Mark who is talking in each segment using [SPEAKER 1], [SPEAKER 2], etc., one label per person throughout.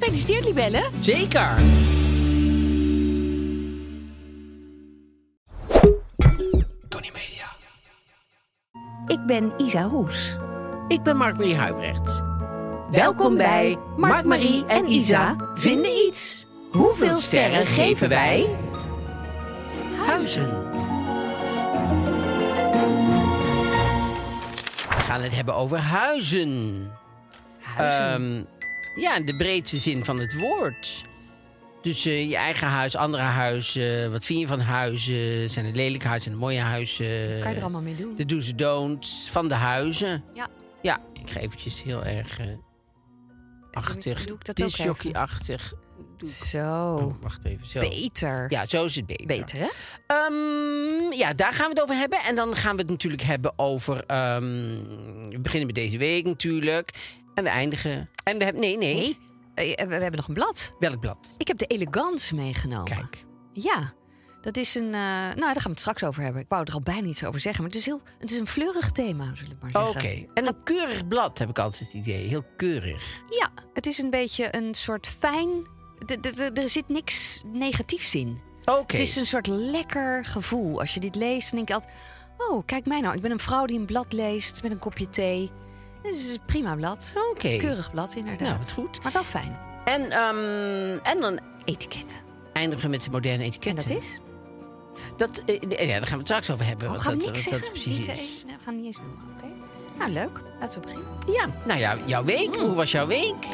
[SPEAKER 1] Gefeliciteerd, Libelle.
[SPEAKER 2] Zeker!
[SPEAKER 1] Ik ben Isa Roes.
[SPEAKER 2] Ik ben Mark-Marie Huibrecht.
[SPEAKER 1] Welkom bij Mark, Marie en Isa vinden iets. Hoeveel sterren geven wij?
[SPEAKER 2] Huizen. We gaan het hebben over huizen. Ehm, ja, in de breedste zin van het woord. Dus eh, je eigen huis, andere huizen. Wat vind je van huizen? Zijn het lelijke huizen en mooie huizen?
[SPEAKER 1] kan je er allemaal mee doen?
[SPEAKER 2] Eh, De do's en don'ts van de huizen.
[SPEAKER 1] Ja.
[SPEAKER 2] Ja, ik ga eventjes heel erg eh achtig.
[SPEAKER 1] doe ik dat ook even?
[SPEAKER 2] Disjockey-achtig. Doe ik-
[SPEAKER 1] Zo.
[SPEAKER 2] Oh, wacht even. Zo.
[SPEAKER 1] Beter.
[SPEAKER 2] Ja, zo is het beter.
[SPEAKER 1] Beter, hè?
[SPEAKER 2] Ehm, ja, daar gaan we het over hebben. En dan gaan we het natuurlijk hebben over. ehm, we beginnen met deze week natuurlijk. En we eindigen. En we hebben. Nee, nee.
[SPEAKER 1] Nee. Eh, We we hebben nog een blad.
[SPEAKER 2] Welk blad?
[SPEAKER 1] Ik heb de elegance meegenomen.
[SPEAKER 2] Kijk.
[SPEAKER 1] Ja, dat is een. eh, nou, daar gaan we het straks over hebben. Ik wou er al bijna iets over zeggen, maar het is, heel, het is een fleurig thema, zullen we maar
[SPEAKER 2] Oké.
[SPEAKER 1] zeggen.
[SPEAKER 2] En een keurig blad heb ik altijd het idee. Heel keurig.
[SPEAKER 1] Ja, het is een beetje een soort fijn. d- d- d- Er zit niks negatiefs in.
[SPEAKER 2] Oké.
[SPEAKER 1] Het is een soort lekker gevoel. Als je dit leest, dan denk je altijd... Oh, kijk mij nou. Ik ben een vrouw die een blad leest met een kopje thee. Het is een prima blad.
[SPEAKER 2] Oké.
[SPEAKER 1] Keurig blad, inderdaad.
[SPEAKER 2] Nou, wat goed.
[SPEAKER 1] Maar wel fijn.
[SPEAKER 2] En, ehm, en dan
[SPEAKER 1] Etiketten.
[SPEAKER 2] eindigen we met de moderne
[SPEAKER 1] En
[SPEAKER 2] etiketten.
[SPEAKER 1] dat is?
[SPEAKER 2] Dat, eh, ja, daar gaan we het straks over hebben.
[SPEAKER 1] Oh,
[SPEAKER 2] wat
[SPEAKER 1] gaan we
[SPEAKER 2] dat,
[SPEAKER 1] niks
[SPEAKER 2] wat dat
[SPEAKER 1] zeggen?
[SPEAKER 2] precies
[SPEAKER 1] Niet,
[SPEAKER 2] is.
[SPEAKER 1] eh, nou, we gaan niet eens noemen, oké? Nou, leuk. Laten we beginnen.
[SPEAKER 2] Ja, nou ja, jouw week.
[SPEAKER 1] Mm.
[SPEAKER 2] Hoe was jouw week?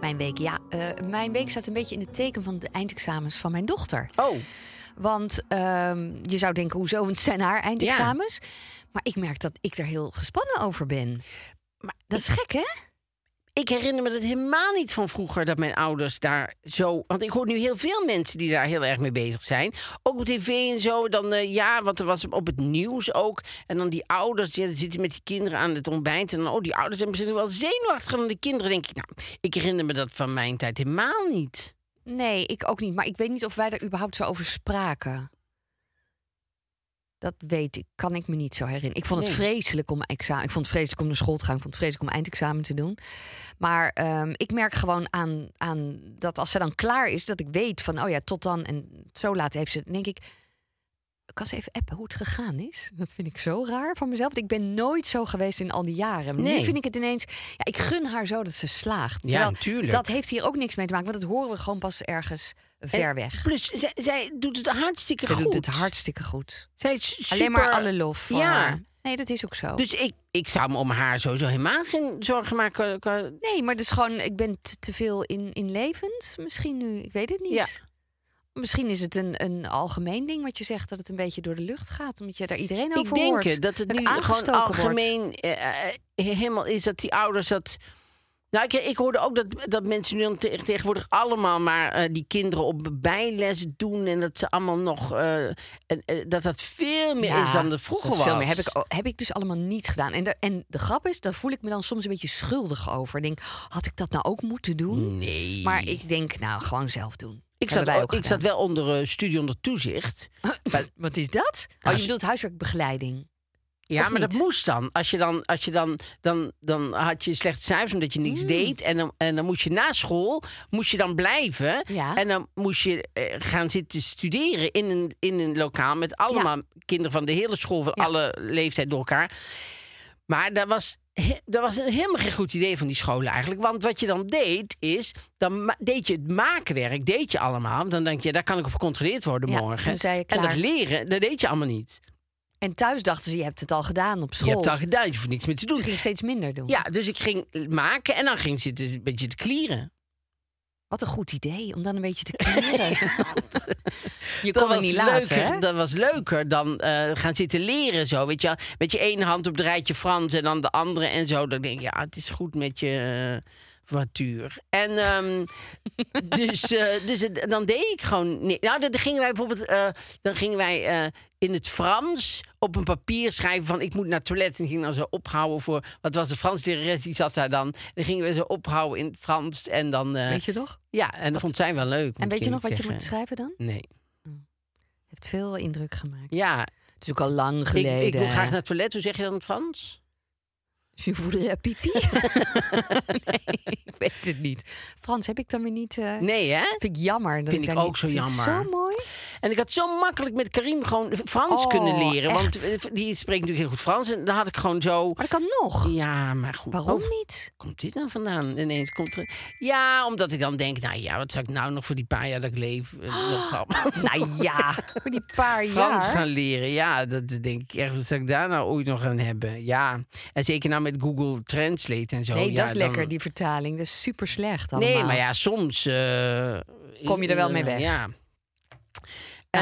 [SPEAKER 1] Mijn week, ja. eh, mijn week staat een beetje in het teken van de eindexamens van mijn dochter.
[SPEAKER 2] Oh,
[SPEAKER 1] Want ehm, je zou denken, hoezo? Want het zijn haar eindexamens. Maar ik merk dat ik daar heel gespannen over ben. dat is gek, hè?
[SPEAKER 2] ik herinner me dat helemaal niet van vroeger dat mijn ouders daar zo. Want ik hoor nu heel veel mensen die daar heel erg mee bezig zijn. Ook op tv en zo. Dan eh, ja, want er was op het nieuws ook. En dan die ouders ja, die zitten met die kinderen aan het ontbijt. En dan, oh, die ouders zijn misschien wel zenuwachtiger dan de kinderen. Denk ik, nou, ik herinner me dat van mijn tijd helemaal niet.
[SPEAKER 1] Nee, ik ook niet. Maar ik weet niet of wij daar überhaupt zo over spraken. Dat weet ik, kan ik me niet zo herinneren. Ik vond het
[SPEAKER 2] Nee.
[SPEAKER 1] vreselijk om examen. Ik vond het vreselijk om naar school te gaan. Ik vond het vreselijk om eindexamen te doen. Maar ehm, ik merk gewoon aan, aan dat als ze dan klaar is, dat ik weet van oh ja, tot dan en zo laat heeft ze. Dan denk ik, ik kan ze even appen hoe het gegaan is. Dat vind ik zo raar van mezelf. Want ik ben nooit zo geweest in al die jaren. Nu
[SPEAKER 2] Nee.
[SPEAKER 1] vind ik het ineens. Ja, ik gun haar zo dat ze slaagt.
[SPEAKER 2] Ja, natuurlijk.
[SPEAKER 1] Dat heeft hier ook niks mee te maken, want dat horen we gewoon pas ergens ver weg.
[SPEAKER 2] Plus, zij, zij doet het hartstikke
[SPEAKER 1] Ze
[SPEAKER 2] Eh, goed.
[SPEAKER 1] doet het hartstikke goed.
[SPEAKER 2] Zij is super...
[SPEAKER 1] Alleen maar alle lof voor
[SPEAKER 2] Ja.
[SPEAKER 1] haar. Nee, dat is ook zo.
[SPEAKER 2] Dus ik, ik zou me om haar sowieso helemaal geen zorgen maken. qua-
[SPEAKER 1] nee, maar het is gewoon, ik ben te, te veel in, in levend misschien nu. Ik weet het niet.
[SPEAKER 2] Ja.
[SPEAKER 1] Misschien is het een, een algemeen ding wat je zegt, dat het een beetje door de lucht gaat. Omdat je daar iedereen over
[SPEAKER 2] Ik denk
[SPEAKER 1] hoort.
[SPEAKER 2] het, dat het nu gewoon
[SPEAKER 1] aangestoken wordt.
[SPEAKER 2] algemeen eh, eh, helemaal is dat die ouders dat. Nou, ik, ik hoorde ook dat, dat mensen nu dan te- tegenwoordig allemaal maar eh, die kinderen op bijles doen. En dat ze allemaal nog. eh, en, eh, dat dat veel meer
[SPEAKER 1] Ja,
[SPEAKER 2] is dan het
[SPEAKER 1] dat
[SPEAKER 2] vroeger
[SPEAKER 1] is
[SPEAKER 2] was.
[SPEAKER 1] Veel meer. Heb, ik, o- heb ik dus allemaal niet gedaan. En, de, en de grap is, daar voel ik me dan soms een beetje schuldig over. Ik denk, had ik dat nou ook moeten doen?
[SPEAKER 2] Nee.
[SPEAKER 1] Maar ik denk, nou, gewoon zelf doen.
[SPEAKER 2] ik,
[SPEAKER 1] Hebben
[SPEAKER 2] zat,
[SPEAKER 1] wij
[SPEAKER 2] ook, ik zat
[SPEAKER 1] gedaan.
[SPEAKER 2] wel onder eh, studie onder toezicht.
[SPEAKER 1] Wat is dat? Oh, je
[SPEAKER 2] als-
[SPEAKER 1] bedoelt huiswerkbegeleiding.
[SPEAKER 2] Ja,
[SPEAKER 1] Of
[SPEAKER 2] maar dat
[SPEAKER 1] niet?
[SPEAKER 2] moest dan. Als je dan, als je dan, dan, dan had je slecht cijfers omdat je
[SPEAKER 1] Mm.
[SPEAKER 2] niks deed. En dan, en dan moest je na school moest je dan blijven.
[SPEAKER 1] Ja.
[SPEAKER 2] En dan moest je eh, gaan zitten studeren in een, in een lokaal met allemaal kinderen van de hele school, van alle leeftijd door elkaar. Maar dat was he- dat was een- helemaal geen goed idee van die scholen eigenlijk. Want wat je dan deed, is... Dan ma- deed je het makenwerk, deed je allemaal. Want Dan denk je, daar kan ik op gecontroleerd worden
[SPEAKER 1] Ja,
[SPEAKER 2] morgen.
[SPEAKER 1] dan zei je,
[SPEAKER 2] en dat
[SPEAKER 1] klaar.
[SPEAKER 2] leren, dat deed je allemaal niet.
[SPEAKER 1] En thuis dachten ze, je hebt het al gedaan op school.
[SPEAKER 2] Je hebt het al gedaan, je hoeft niks meer te doen.
[SPEAKER 1] Ik ging steeds minder doen.
[SPEAKER 2] Ja, dus ik ging maken en dan ging zitten een beetje te klieren.
[SPEAKER 1] Wat een goed idee, om dan een beetje te kleren. je
[SPEAKER 2] Dat
[SPEAKER 1] kon
[SPEAKER 2] was,
[SPEAKER 1] het niet laten,
[SPEAKER 2] leuker,
[SPEAKER 1] hè?
[SPEAKER 2] dat was leuker dan eh, gaan zitten leren zo. Weet je, wel. met je ene hand op het rijtje Frans en dan de andere en zo. Dan denk je, ja, het is goed met je eh, voituur. En ehm, dus, eh, dus het- dan deed ik gewoon... ni- Nou, dan gingen wij bijvoorbeeld eh, dan gingen wij, eh, in het Frans op een papier schrijven van... ik moet naar het toilet en ging dan zo ophouden voor... Wat was de Frans lerares, die zat daar dan. Dan gingen we zo ophouden in het Frans en dan... eh,
[SPEAKER 1] Weet je toch?
[SPEAKER 2] ja, en dat vond zij wel leuk.
[SPEAKER 1] En
[SPEAKER 2] moet
[SPEAKER 1] weet je nog wat je
[SPEAKER 2] eerlijk
[SPEAKER 1] moet schrijven dan?
[SPEAKER 2] zeggen. Nee.
[SPEAKER 1] Heeft veel indruk gemaakt.
[SPEAKER 2] Ja,
[SPEAKER 1] Het is ook al lang
[SPEAKER 2] ik,
[SPEAKER 1] geleden.
[SPEAKER 2] ik wil graag naar het toilet. Hoe zeg je dat in het Frans?
[SPEAKER 1] Je voelde pipi. nee, ik weet het niet. Frans heb ik dan weer niet. eh,
[SPEAKER 2] Nee, hè?
[SPEAKER 1] Vind ik jammer. Dat
[SPEAKER 2] Vind ik
[SPEAKER 1] daar
[SPEAKER 2] ook
[SPEAKER 1] niet-
[SPEAKER 2] zo
[SPEAKER 1] vind het
[SPEAKER 2] jammer.
[SPEAKER 1] Zo mooi.
[SPEAKER 2] En ik had zo makkelijk met Karim gewoon Frans
[SPEAKER 1] Oh,
[SPEAKER 2] kunnen leren. Want
[SPEAKER 1] echt?
[SPEAKER 2] eh, die spreekt natuurlijk heel goed Frans. En dan had ik gewoon zo...
[SPEAKER 1] Maar dat kan nog.
[SPEAKER 2] Ja, maar goed.
[SPEAKER 1] Waarom
[SPEAKER 2] Oh,
[SPEAKER 1] niet?
[SPEAKER 2] komt dit nou vandaan? Ineens komt er... Ja, omdat ik dan denk, nou ja, wat zou ik nou nog voor die paar jaar dat ik leef... eh, nog gaan-
[SPEAKER 1] Nou ja, voor die paar
[SPEAKER 2] Frans
[SPEAKER 1] jaar.
[SPEAKER 2] gaan leren. Ja, dat denk ik echt. Wat zou ik daar nou ooit nog aan hebben? Ja, en zeker nou met Google Translate en zo.
[SPEAKER 1] Nee,
[SPEAKER 2] Oh ja,
[SPEAKER 1] dat is
[SPEAKER 2] dan-
[SPEAKER 1] lekker, die vertaling. Dat is super slecht allemaal.
[SPEAKER 2] Nee, maar ja, soms... eh, is-
[SPEAKER 1] Kom je er wel mee weg.
[SPEAKER 2] Ja.
[SPEAKER 1] Ja,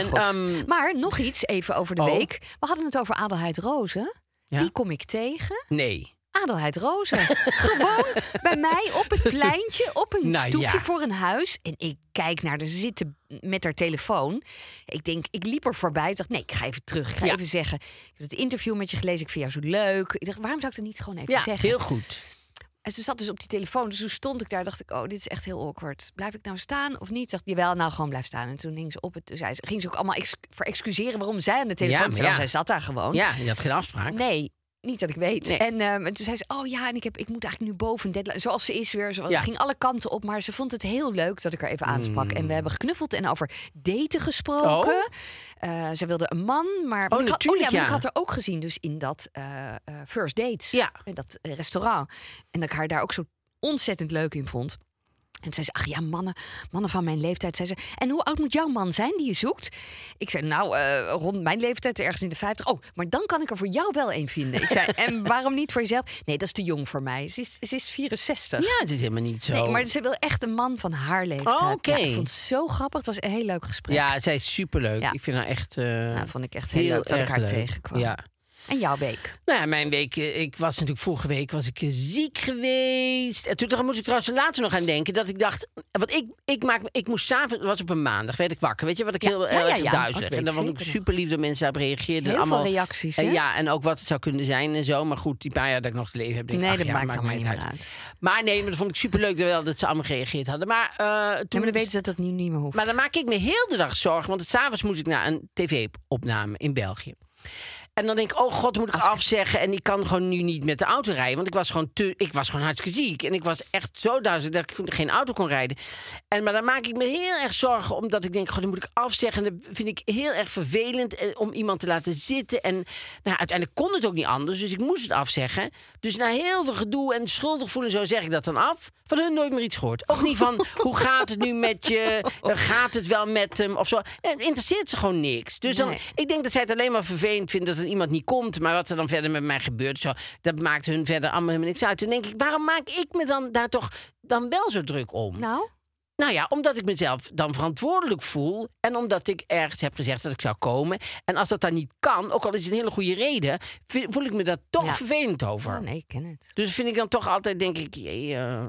[SPEAKER 2] En,
[SPEAKER 1] goed.
[SPEAKER 2] ehm,
[SPEAKER 1] maar nog iets even over de
[SPEAKER 2] Oh.
[SPEAKER 1] week. We hadden het over Adelheid Rozen.
[SPEAKER 2] Ja?
[SPEAKER 1] Die kom ik tegen.
[SPEAKER 2] Nee.
[SPEAKER 1] Adelheid Rozen. Gewoon bij mij op het pleintje, op een
[SPEAKER 2] Nou,
[SPEAKER 1] stoepje
[SPEAKER 2] ja.
[SPEAKER 1] voor een huis. En ik kijk naar haar zitten met haar telefoon. Ik denk, ik liep er voorbij. Ik dacht, nee, ik ga even terug. Ik ga
[SPEAKER 2] Ja.
[SPEAKER 1] even zeggen. Ik heb het interview met je gelezen. Ik vind jou zo leuk. Ik dacht, waarom zou ik dat niet gewoon even
[SPEAKER 2] Ja,
[SPEAKER 1] zeggen?
[SPEAKER 2] heel goed.
[SPEAKER 1] En ze zat dus op die telefoon. Dus toen stond ik daar, dacht ik, oh, dit is echt heel awkward. Blijf ik nou staan of niet? Dacht, jawel, nou gewoon blijf staan. En toen ging ze op het, toen zei ze, ging ze ook allemaal ex voor excuseren waarom zij aan de telefoon
[SPEAKER 2] Ja, maar
[SPEAKER 1] zat. Terwijl
[SPEAKER 2] ja.
[SPEAKER 1] zij zat daar gewoon.
[SPEAKER 2] Ja, je had geen afspraak.
[SPEAKER 1] Nee, niet dat ik weet.
[SPEAKER 2] Nee.
[SPEAKER 1] En, ehm, en toen zei ze, oh ja, en ik, heb, ik moet eigenlijk nu boven een deadline. Zoals ze is weer, ze
[SPEAKER 2] Ja.
[SPEAKER 1] ging alle kanten op. Maar ze vond het heel leuk dat ik haar even aansprak. En we hebben geknuffeld en over daten gesproken.
[SPEAKER 2] Mm. Oh.
[SPEAKER 1] Eh, ze wilde een man, maar... want ik had, oh
[SPEAKER 2] natuurlijk,
[SPEAKER 1] ja, want
[SPEAKER 2] ja.
[SPEAKER 1] ik had haar ook gezien dus in dat eh, eh, First Dates.
[SPEAKER 2] Ja.
[SPEAKER 1] In dat eh, restaurant. En dat ik haar daar ook zo ontzettend leuk in vond. En toen zei ze, ach ja, mannen, mannen van mijn leeftijd. Zei ze, en hoe oud moet jouw man zijn die je zoekt? Ik zei, nou, eh, rond mijn leeftijd, ergens in de 50. Oh, maar dan kan ik er voor jou wel een vinden. Ik zei, en waarom niet voor jezelf? Nee, dat is te jong voor mij. Ze is, ze is 64.
[SPEAKER 2] Ja, het is helemaal niet zo.
[SPEAKER 1] Nee, maar ze wil echt een man van haar leeftijd.
[SPEAKER 2] Oh, oké.
[SPEAKER 1] Ja, ik vond het zo grappig. Het was een heel leuk gesprek.
[SPEAKER 2] Ja, zij is superleuk.
[SPEAKER 1] Ja.
[SPEAKER 2] Ik vind haar echt... eh
[SPEAKER 1] Nou, vond ik echt heel, leuk dat ik
[SPEAKER 2] erg
[SPEAKER 1] haar
[SPEAKER 2] leuk.
[SPEAKER 1] tegenkwam.
[SPEAKER 2] Ja.
[SPEAKER 1] En jouw week.
[SPEAKER 2] Nou ja, mijn week... eh, Ik was natuurlijk vorige week was ik eh, ziek geweest. En toen daar moest ik trouwens later nog aan denken. Dat ik dacht... Want ik, ik, maak, ik moest s'avonds... was op een maandag, werd ik wakker. Weet je, wat ik heel,
[SPEAKER 1] ja,
[SPEAKER 2] heel
[SPEAKER 1] ja,
[SPEAKER 2] erg
[SPEAKER 1] ja.
[SPEAKER 2] duizelig.
[SPEAKER 1] Dat weet
[SPEAKER 2] En dan
[SPEAKER 1] ik
[SPEAKER 2] vond ik
[SPEAKER 1] zeker
[SPEAKER 2] super lief dat mensen daarop reageerden.
[SPEAKER 1] Heel veel
[SPEAKER 2] allemaal,
[SPEAKER 1] reacties, hè?
[SPEAKER 2] Eh, ja, en ook wat het zou kunnen zijn en zo. Maar goed, die paar jaar dat ik nog te leven heb... Denk, ik,
[SPEAKER 1] Nee,
[SPEAKER 2] ach
[SPEAKER 1] dat
[SPEAKER 2] ja,
[SPEAKER 1] maakt allemaal
[SPEAKER 2] mij
[SPEAKER 1] niet meer uit.
[SPEAKER 2] Maar nee, maar dat vond ik superleuk dat wel dat ze allemaal gereageerd hadden. Maar eh,
[SPEAKER 1] Nee,
[SPEAKER 2] toen...
[SPEAKER 1] maar dan weten ze dat dat nu niet meer hoeft.
[SPEAKER 2] Maar dan maak ik me heel de dag zorgen. Want het 's avonds moest ik naar een tv-opname in België. En dan denk ik, oh god, moet ik afzeggen. En ik kan gewoon nu niet met de auto rijden. Want ik was gewoon, te, ik was gewoon hartstikke ziek. En ik was echt zo duizelig dat ik geen auto kon rijden. En, maar dan maak ik me heel erg zorgen. Omdat ik denk, god, dan moet ik afzeggen. En dat vind ik heel erg vervelend eh, om iemand te laten zitten. En nou, ja, uiteindelijk kon het ook niet anders. Dus ik moest het afzeggen. Dus na heel veel gedoe en schuldig voelen en zo zeg ik dat dan af. Van hun nooit meer iets gehoord. Ook niet van, hoe gaat het nu met je? Eh, Gaat het wel met hem? Of zo. Het interesseert ze gewoon niks. Dus dan,
[SPEAKER 1] Nee.
[SPEAKER 2] ik denk dat zij het alleen maar vervelend vinden dat er iemand niet komt. Maar wat er dan verder met mij gebeurt, zo, dat maakt hun verder allemaal helemaal niks uit. Dan denk ik, waarom maak ik me dan daar toch dan wel zo druk om?
[SPEAKER 1] Nou,
[SPEAKER 2] Nou ja, omdat ik mezelf dan verantwoordelijk voel. En omdat ik ergens heb gezegd dat ik zou komen. En als dat dan niet kan, ook al is het een hele goede reden, vind- voel ik me daar toch
[SPEAKER 1] Ja.
[SPEAKER 2] vervelend over.
[SPEAKER 1] oh, nee, ik ken het.
[SPEAKER 2] Dus vind ik dan toch altijd, denk ik, jee, eh,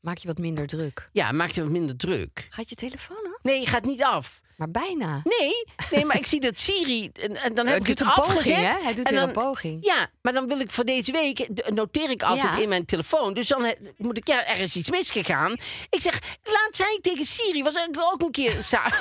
[SPEAKER 1] Maak je wat minder druk.
[SPEAKER 2] ja, maak je wat minder druk.
[SPEAKER 1] Gaat je telefoon af?
[SPEAKER 2] Nee, je gaat niet af.
[SPEAKER 1] Maar bijna.
[SPEAKER 2] Nee, nee, maar ik zie dat Siri. En, en dan
[SPEAKER 1] Hij
[SPEAKER 2] heb ik
[SPEAKER 1] doet
[SPEAKER 2] het
[SPEAKER 1] een poging,
[SPEAKER 2] afgezet.
[SPEAKER 1] hè? Hij doet
[SPEAKER 2] en
[SPEAKER 1] weer
[SPEAKER 2] dan-
[SPEAKER 1] een poging.
[SPEAKER 2] Ja, maar dan wil ik voor deze week eh, d- noteer ik altijd
[SPEAKER 1] Ja.
[SPEAKER 2] in mijn telefoon. Dus dan he- moet ik ja, er is iets misgegaan. Ik zeg, laat zei ik tegen Siri was ik ook een keer. sa-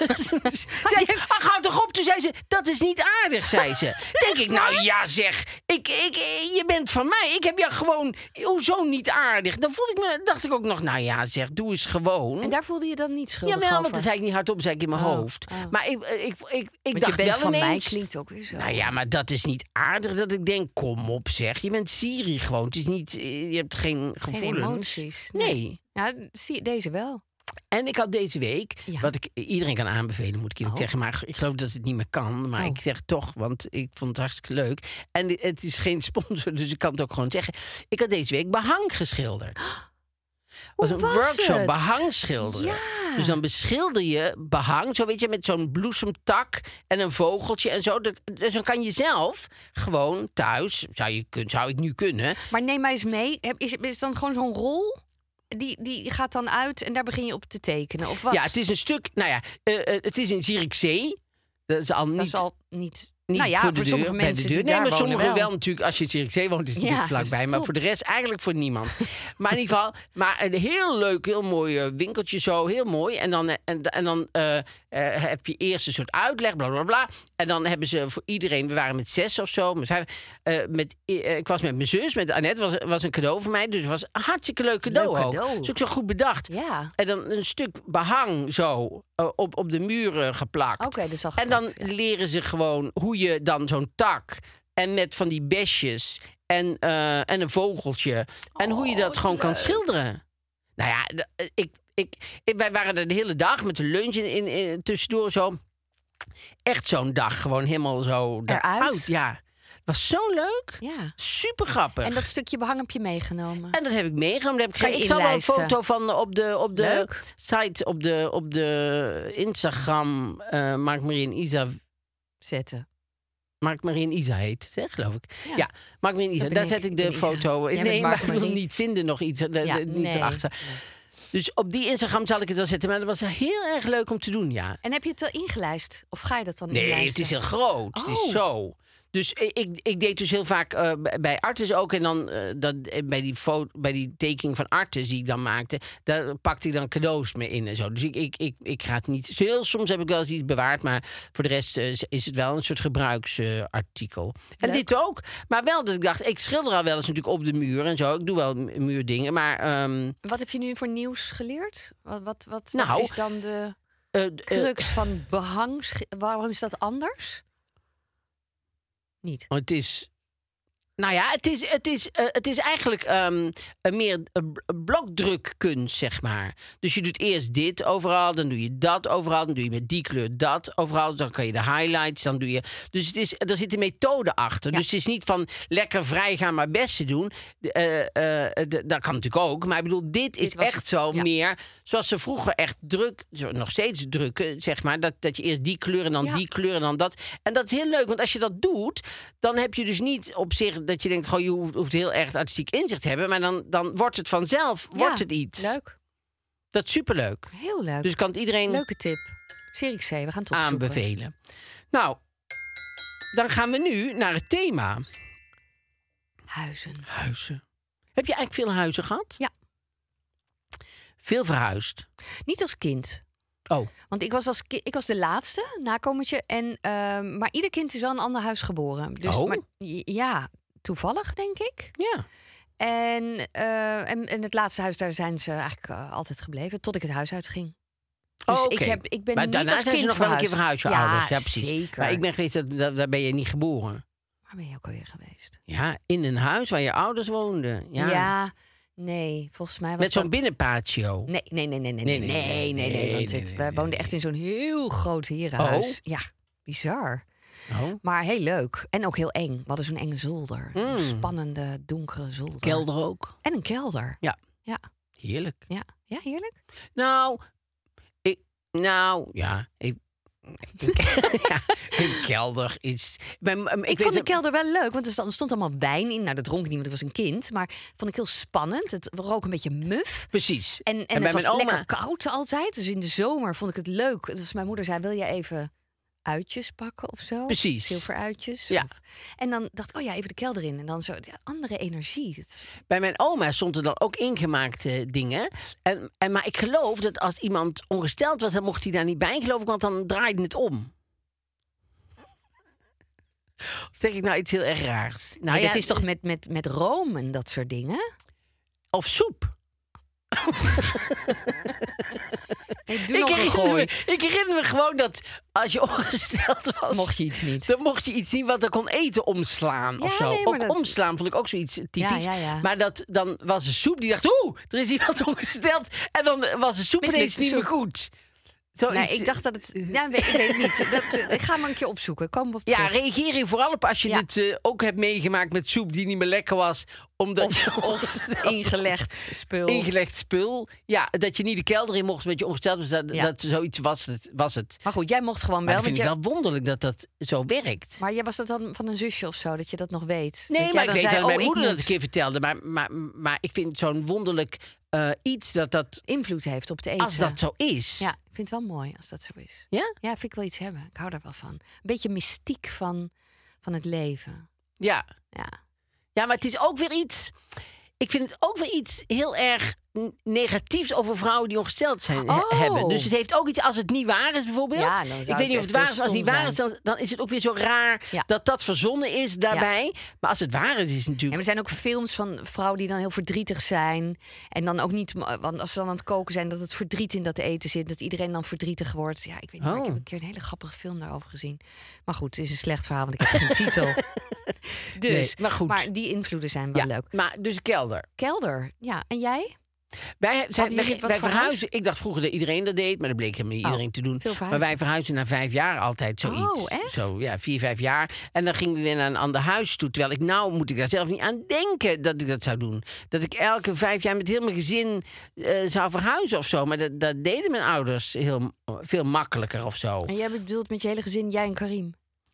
[SPEAKER 2] zei ik, ach, houd toch op. Toen zei ze, dat is niet aardig, zei ze. Denk ik, nou ja, zeg, ik, ik, je bent van mij. Ik heb jou gewoon, hoezo niet aardig? Dan voel ik me, dacht ik ook nog, nou ja, zeg, doe eens gewoon.
[SPEAKER 1] En daar voelde je dan niet schuldig
[SPEAKER 2] Jawel,
[SPEAKER 1] over?
[SPEAKER 2] want dat zei ik niet hardop, zei ik in mijn
[SPEAKER 1] Oh,
[SPEAKER 2] hoofd. Maar ik, eh, ik, ik, ik
[SPEAKER 1] Want
[SPEAKER 2] dacht
[SPEAKER 1] je bent
[SPEAKER 2] wel
[SPEAKER 1] van mij
[SPEAKER 2] ineens...
[SPEAKER 1] klinkt ook weer zo.
[SPEAKER 2] Nou ja, maar dat is niet aardig dat ik denk, kom op zeg. Je bent Siri gewoon. Het is niet, eh, je hebt geen
[SPEAKER 1] Geen
[SPEAKER 2] gevoelens.
[SPEAKER 1] emoties.
[SPEAKER 2] Nee.
[SPEAKER 1] Ja, zie, deze wel.
[SPEAKER 2] En ik had deze week,
[SPEAKER 1] Ja.
[SPEAKER 2] wat ik iedereen kan aanbevelen, moet ik eerlijk
[SPEAKER 1] Oh.
[SPEAKER 2] zeggen. Maar ik geloof dat het niet meer kan. Maar
[SPEAKER 1] Oh.
[SPEAKER 2] ik zeg toch, want ik vond het hartstikke leuk. En het is geen sponsor, dus ik kan het ook gewoon zeggen. Ik had deze week behang geschilderd. was
[SPEAKER 1] Hoe
[SPEAKER 2] een
[SPEAKER 1] was
[SPEAKER 2] workshop
[SPEAKER 1] het?
[SPEAKER 2] behang schilderen.
[SPEAKER 1] Ja.
[SPEAKER 2] Dus dan beschilder je behang, zo weet je, met zo'n bloesemtak en een vogeltje en zo. Dat- Dus dan kan je zelf gewoon thuis, zou, je kun, zou ik nu kunnen,
[SPEAKER 1] Maar neem mij eens mee. Heb- Is, is dan gewoon zo'n rol? Die, die gaat dan uit en daar begin je op te tekenen? Of wat?
[SPEAKER 2] Ja, het is een stuk. Nou ja, eh, eh, het is in Zierikzee. Dat is al niet.
[SPEAKER 1] dat is al niet...
[SPEAKER 2] Niet
[SPEAKER 1] nou ja,
[SPEAKER 2] voor, de deur,
[SPEAKER 1] sommige
[SPEAKER 2] bij
[SPEAKER 1] mensen
[SPEAKER 2] de deur.
[SPEAKER 1] die
[SPEAKER 2] Nee,
[SPEAKER 1] daar
[SPEAKER 2] maar
[SPEAKER 1] wonen
[SPEAKER 2] sommigen wel.
[SPEAKER 1] wel.
[SPEAKER 2] natuurlijk. Als je in Zierikzee woont, is het
[SPEAKER 1] Ja,
[SPEAKER 2] natuurlijk
[SPEAKER 1] dat
[SPEAKER 2] vlakbij.
[SPEAKER 1] is
[SPEAKER 2] Maar
[SPEAKER 1] top.
[SPEAKER 2] voor de rest eigenlijk voor niemand. maar in ieder geval, maar een heel leuk, heel mooi eh, winkeltje zo. Heel mooi. En dan, eh, en, en dan eh, eh, heb je eerst een soort uitleg, bla bla bla. En dan hebben ze voor iedereen, we waren met zes of zo. Met vijf, eh, met, eh, ik was met mijn zus, met Annette, was, was een cadeau voor mij. Dus het was een hartstikke leuk cadeau
[SPEAKER 1] Leuk
[SPEAKER 2] ook.
[SPEAKER 1] cadeau.
[SPEAKER 2] Dat is ook zo goed bedacht.
[SPEAKER 1] Ja.
[SPEAKER 2] En dan een stuk behang zo eh, op, op de muren geplakt.
[SPEAKER 1] Oké, dus al
[SPEAKER 2] En dan
[SPEAKER 1] geplakt, ja.
[SPEAKER 2] leren ze gewoon hoe je dan zo'n tak en met van die besjes en, eh, en een vogeltje. En hoe je dat
[SPEAKER 1] Oh,
[SPEAKER 2] gewoon kan schilderen. Nou ja, d- eh, ik, ik, ik- wij waren er de hele dag met de lunch in, in, in- tussendoor zo. Echt zo'n dag, gewoon helemaal zo
[SPEAKER 1] Eruit.
[SPEAKER 2] eruit, Ja, was zo leuk.
[SPEAKER 1] Ja.
[SPEAKER 2] Super grappig.
[SPEAKER 1] En dat stukje behang heb je meegenomen.
[SPEAKER 2] En dat heb ik meegenomen. Daar Heb ik,
[SPEAKER 1] Ga je
[SPEAKER 2] ik zal wel een
[SPEAKER 1] inlijsten.
[SPEAKER 2] foto van op de, op de
[SPEAKER 1] Leuk.
[SPEAKER 2] site, op de, op de Instagram. eh Mark Marie en Isa.
[SPEAKER 1] Zetten.
[SPEAKER 2] Mark Marie en Isa heet het, hè, geloof ik. Ja,
[SPEAKER 1] Ja.
[SPEAKER 2] Mark Marie en Isa.
[SPEAKER 1] ben
[SPEAKER 2] Daar
[SPEAKER 1] ik.
[SPEAKER 2] zet ik
[SPEAKER 1] Ik
[SPEAKER 2] de
[SPEAKER 1] ben Isa.
[SPEAKER 2] foto.
[SPEAKER 1] Jij
[SPEAKER 2] nee,
[SPEAKER 1] bent
[SPEAKER 2] maar
[SPEAKER 1] Mark
[SPEAKER 2] ik wil
[SPEAKER 1] Marie.
[SPEAKER 2] niet vinden nog iets. eh,
[SPEAKER 1] Ja,
[SPEAKER 2] eh, niet
[SPEAKER 1] nee.
[SPEAKER 2] achter. Dus op die Instagram zal ik het wel zetten. Maar dat was heel erg leuk om te doen, ja.
[SPEAKER 1] En heb je het wel ingelijst? Of ga je dat dan
[SPEAKER 2] Nee,
[SPEAKER 1] inlijsten?
[SPEAKER 2] het is heel groot. Het is
[SPEAKER 1] Oh.
[SPEAKER 2] zo. Dus i- ik, ik deed dus heel vaak eh, b- bij Artis ook. En dan eh, dat, eh, bij, die foto, bij die tekening van Artis die ik dan maakte, daar pakte ik dan cadeaus mee in en zo. Dus ik, ik, ik, ik ga het niet. Heel soms heb ik wel eens iets bewaard, maar voor de rest eh, is- is het wel een soort gebruiksartikel. en
[SPEAKER 1] Leuk.
[SPEAKER 2] dit ook. Maar wel dat ik dacht, ik schilder al wel eens natuurlijk op de muur en zo. Ik doe wel mu- muurdingen. Maar ehm,
[SPEAKER 1] Wat heb je nu voor nieuws geleerd? Wat, wat, wat, wat
[SPEAKER 2] Nou,
[SPEAKER 1] is dan de
[SPEAKER 2] eh, eh,
[SPEAKER 1] crux van behang? Waarom is dat anders? Niet.
[SPEAKER 2] Maar Het is. Nou ja, het is, het is, eh, het is eigenlijk ehm, een meer eh, b- blokdrukkunst, zeg maar. Dus je doet eerst dit overal, dan doe je dat overal, dan doe je met die kleur dat overal, dan kan je de highlights, dan doe je. Dus het is, er zit een methode achter.
[SPEAKER 1] Ja.
[SPEAKER 2] Dus het is niet van lekker vrij gaan, maar beste doen. De, eh, eh, de- dat kan natuurlijk ook, maar ik bedoel, dit is
[SPEAKER 1] was-
[SPEAKER 2] echt zo
[SPEAKER 1] ja.
[SPEAKER 2] meer zoals ze vroeger echt druk, zo, nog steeds drukken, zeg maar. Dat, dat je eerst die kleur en dan
[SPEAKER 1] Ja.
[SPEAKER 2] die kleur en dan dat. En dat is heel leuk, want als je dat doet, dan heb je dus niet op zich dat je denkt, goh, je hoeft, hoeft heel erg artistiek inzicht te hebben, maar dan, dan wordt het vanzelf, wordt
[SPEAKER 1] Ja,
[SPEAKER 2] het iets.
[SPEAKER 1] Leuk.
[SPEAKER 2] Dat is superleuk.
[SPEAKER 1] Heel leuk.
[SPEAKER 2] Dus ik kan het iedereen
[SPEAKER 1] Leuke tip. Zierikzee, we gaan het opzoeken.
[SPEAKER 2] aanbevelen. Nou, dan gaan we nu naar het thema.
[SPEAKER 1] Huizen.
[SPEAKER 2] Huizen. Heb je eigenlijk veel huizen gehad?
[SPEAKER 1] Ja.
[SPEAKER 2] Veel verhuisd.
[SPEAKER 1] Niet als kind.
[SPEAKER 2] Oh,
[SPEAKER 1] Want ik was, als ki- ik was de laatste nakomertje. En, ehm, maar ieder kind is wel in een ander huis geboren. Dus,
[SPEAKER 2] Oh.
[SPEAKER 1] maar, ja, toevallig denk ik.
[SPEAKER 2] ja.
[SPEAKER 1] En, eh, en, en het laatste huis, daar zijn ze eigenlijk eh, altijd gebleven. Tot ik het huis uitging. Dus
[SPEAKER 2] Oh,
[SPEAKER 1] ik,
[SPEAKER 2] oké.
[SPEAKER 1] heb, ik ben
[SPEAKER 2] maar
[SPEAKER 1] niet
[SPEAKER 2] daarna
[SPEAKER 1] als
[SPEAKER 2] zijn
[SPEAKER 1] kind
[SPEAKER 2] ze nog wel een keer verhuisd, je
[SPEAKER 1] ja,
[SPEAKER 2] ouders. Ja, precies.
[SPEAKER 1] zeker.
[SPEAKER 2] Maar ik ben geweest, dat, dat- daar ben je niet geboren.
[SPEAKER 1] Waar ben je ook alweer geweest?
[SPEAKER 2] Ja, in een huis waar je ouders woonden. Ja.
[SPEAKER 1] nee, volgens mij was
[SPEAKER 2] Met zo'n
[SPEAKER 1] dat-
[SPEAKER 2] binnenpatio.
[SPEAKER 1] Nee, nee, nee, nee, nee, nee, nee, nee,
[SPEAKER 2] nee,
[SPEAKER 1] nee, want
[SPEAKER 2] nee,
[SPEAKER 1] het,
[SPEAKER 2] nee,
[SPEAKER 1] wij
[SPEAKER 2] nee,
[SPEAKER 1] woonden echt in zo'n heel groot herenhuis.
[SPEAKER 2] Oh.
[SPEAKER 1] Ja, bizar.
[SPEAKER 2] Oh.
[SPEAKER 1] Maar heel leuk. En ook heel eng. We hadden zo'n enge zolder. Een spannende, donkere zolder.
[SPEAKER 2] Mm. Kelder ook.
[SPEAKER 1] En een kelder.
[SPEAKER 2] Ja,
[SPEAKER 1] Ja,
[SPEAKER 2] heerlijk.
[SPEAKER 1] ja. ja heerlijk.
[SPEAKER 2] Nou, ik, nou, ja, ik... ja, een kelder is... Mijn- mijn-
[SPEAKER 1] Ik,
[SPEAKER 2] weet
[SPEAKER 1] vond de
[SPEAKER 2] dat-
[SPEAKER 1] kelder wel leuk, want er stond, er stond allemaal wijn in. Nou, dat dronk ik niet, want ik was een kind. Maar vond ik heel spannend. Het rook een beetje muf.
[SPEAKER 2] Precies.
[SPEAKER 1] En, en, het was lekker koud altijd. Dus in de zomer vond ik het leuk. Dus mijn moeder zei, wil jij even uitjes pakken of zo?
[SPEAKER 2] Precies.
[SPEAKER 1] Zilveruitjes.
[SPEAKER 2] Ja.
[SPEAKER 1] Of- En dan dacht ik, oh ja, even de kelder in. En dan zo, ja, andere energie. Het-
[SPEAKER 2] Bij mijn oma stond er dan ook ingemaakte dingen. En, en, maar ik geloof dat als iemand ongesteld was, dan mocht hij daar niet bij, geloof ik, want dan draaide het om. Of zeg ik nou iets heel erg raars? Nou
[SPEAKER 1] Maar
[SPEAKER 2] ja,
[SPEAKER 1] dat is toch met, met, met room en dat soort dingen?
[SPEAKER 2] Of soep.
[SPEAKER 1] Ik doe
[SPEAKER 2] Ik
[SPEAKER 1] nog een
[SPEAKER 2] herinner,
[SPEAKER 1] gooi.
[SPEAKER 2] me, ik herinner me gewoon dat als je ongesteld was...
[SPEAKER 1] Mocht je iets niet.
[SPEAKER 2] Dan mocht je iets niet wat er kon eten omslaan of
[SPEAKER 1] Ja,
[SPEAKER 2] zo.
[SPEAKER 1] nee, maar
[SPEAKER 2] ook
[SPEAKER 1] dat-
[SPEAKER 2] omslaan vond ik ook zoiets typisch.
[SPEAKER 1] Ja, ja, ja.
[SPEAKER 2] Maar dat, dan was de soep die dacht, oeh, er is iemand ongesteld. En dan was de soep
[SPEAKER 1] Mislukte
[SPEAKER 2] ineens niet
[SPEAKER 1] soep.
[SPEAKER 2] meer goed. Zoiets,
[SPEAKER 1] Nee, ik dacht dat het. Ja, ik weet, ik weet het niet. Dat, eh, ik ga maar een keer opzoeken. Komen we op
[SPEAKER 2] eh, Ja,
[SPEAKER 1] terug.
[SPEAKER 2] reageer hier vooral op als je
[SPEAKER 1] Ja.
[SPEAKER 2] dit eh, ook hebt meegemaakt met soep die niet meer lekker was. Omdat je ongesteld was.
[SPEAKER 1] ingelegd spul.
[SPEAKER 2] Ingelegd spul. Ja, dat je niet de kelder in mocht met je ongesteld was. Dat,
[SPEAKER 1] Ja.
[SPEAKER 2] dat zoiets was het. Was het.
[SPEAKER 1] Maar goed, jij mocht gewoon
[SPEAKER 2] Maar
[SPEAKER 1] wel.
[SPEAKER 2] dat vind
[SPEAKER 1] want
[SPEAKER 2] ik
[SPEAKER 1] je-
[SPEAKER 2] wel wonderlijk dat dat zo werkt.
[SPEAKER 1] Maar jij was dat dan van een zusje of zo, dat je dat nog weet?
[SPEAKER 2] Nee,
[SPEAKER 1] jij
[SPEAKER 2] maar ik
[SPEAKER 1] dan
[SPEAKER 2] weet
[SPEAKER 1] zei,
[SPEAKER 2] dat mijn
[SPEAKER 1] oh,
[SPEAKER 2] moeder dat
[SPEAKER 1] moet-
[SPEAKER 2] een keer vertelde. Maar, maar, maar ik vind zo'n wonderlijk eh, iets dat dat,
[SPEAKER 1] invloed heeft op het eten.
[SPEAKER 2] als dat zo is.
[SPEAKER 1] Ja, ik vind het wel mooi als dat zo is.
[SPEAKER 2] Ja?
[SPEAKER 1] Ja, vind ik wel iets hebben. Ik hou daar wel van. Een beetje mystiek van, van het leven.
[SPEAKER 2] Ja.
[SPEAKER 1] Ja.
[SPEAKER 2] Ja, maar het is ook weer iets. Ik vind het ook weer iets heel erg n- negatiefs over vrouwen die ongesteld zijn he-
[SPEAKER 1] Oh.
[SPEAKER 2] hebben. Dus het heeft ook iets als het niet waar is bijvoorbeeld.
[SPEAKER 1] Ja, dan zou
[SPEAKER 2] ik
[SPEAKER 1] het
[SPEAKER 2] weet niet of het waar
[SPEAKER 1] echt heel
[SPEAKER 2] is. Als het niet
[SPEAKER 1] stom
[SPEAKER 2] waar is, dan, dan is het ook weer zo raar
[SPEAKER 1] Ja.
[SPEAKER 2] dat dat verzonnen is daarbij. Maar als het waar is, is het
[SPEAKER 1] En er
[SPEAKER 2] natuurlijk.
[SPEAKER 1] zijn ook films van vrouwen die dan heel verdrietig zijn. En dan ook niet, want als ze dan aan het koken zijn, dat het verdriet in dat eten zit. Dat iedereen dan verdrietig wordt. Ja, ik weet niet, maar ik
[SPEAKER 2] Oh.
[SPEAKER 1] heb een keer een hele grappige film daarover gezien. Maar goed, het is een slecht verhaal, want ik heb geen titel. Dus,
[SPEAKER 2] Nee, maar goed.
[SPEAKER 1] Maar die invloeden zijn
[SPEAKER 2] ja,
[SPEAKER 1] wel leuk.
[SPEAKER 2] Maar dus kelder.
[SPEAKER 1] Kelder, ja. En jij?
[SPEAKER 2] Wij, zijn,
[SPEAKER 1] jullie
[SPEAKER 2] wij,
[SPEAKER 1] wat
[SPEAKER 2] wij
[SPEAKER 1] verhuisd?
[SPEAKER 2] verhuizen. Ik dacht vroeger dat iedereen dat deed, maar dat bleek helemaal niet
[SPEAKER 1] Oh,
[SPEAKER 2] iedereen te doen.
[SPEAKER 1] veel
[SPEAKER 2] Maar
[SPEAKER 1] verhuizen.
[SPEAKER 2] wij verhuizen na vijf jaar altijd zoiets.
[SPEAKER 1] Oh, echt?
[SPEAKER 2] Zo, ja, vier, vijf jaar. En dan gingen we weer naar een ander huis toe. Terwijl ik nou moet ik daar zelf niet aan denken dat ik dat zou doen. Dat ik elke vijf jaar met heel mijn gezin eh, zou verhuizen of zo. Maar dat, dat deden mijn ouders heel, veel makkelijker of zo.
[SPEAKER 1] En jij bedoelt met je hele gezin, jij en Karim.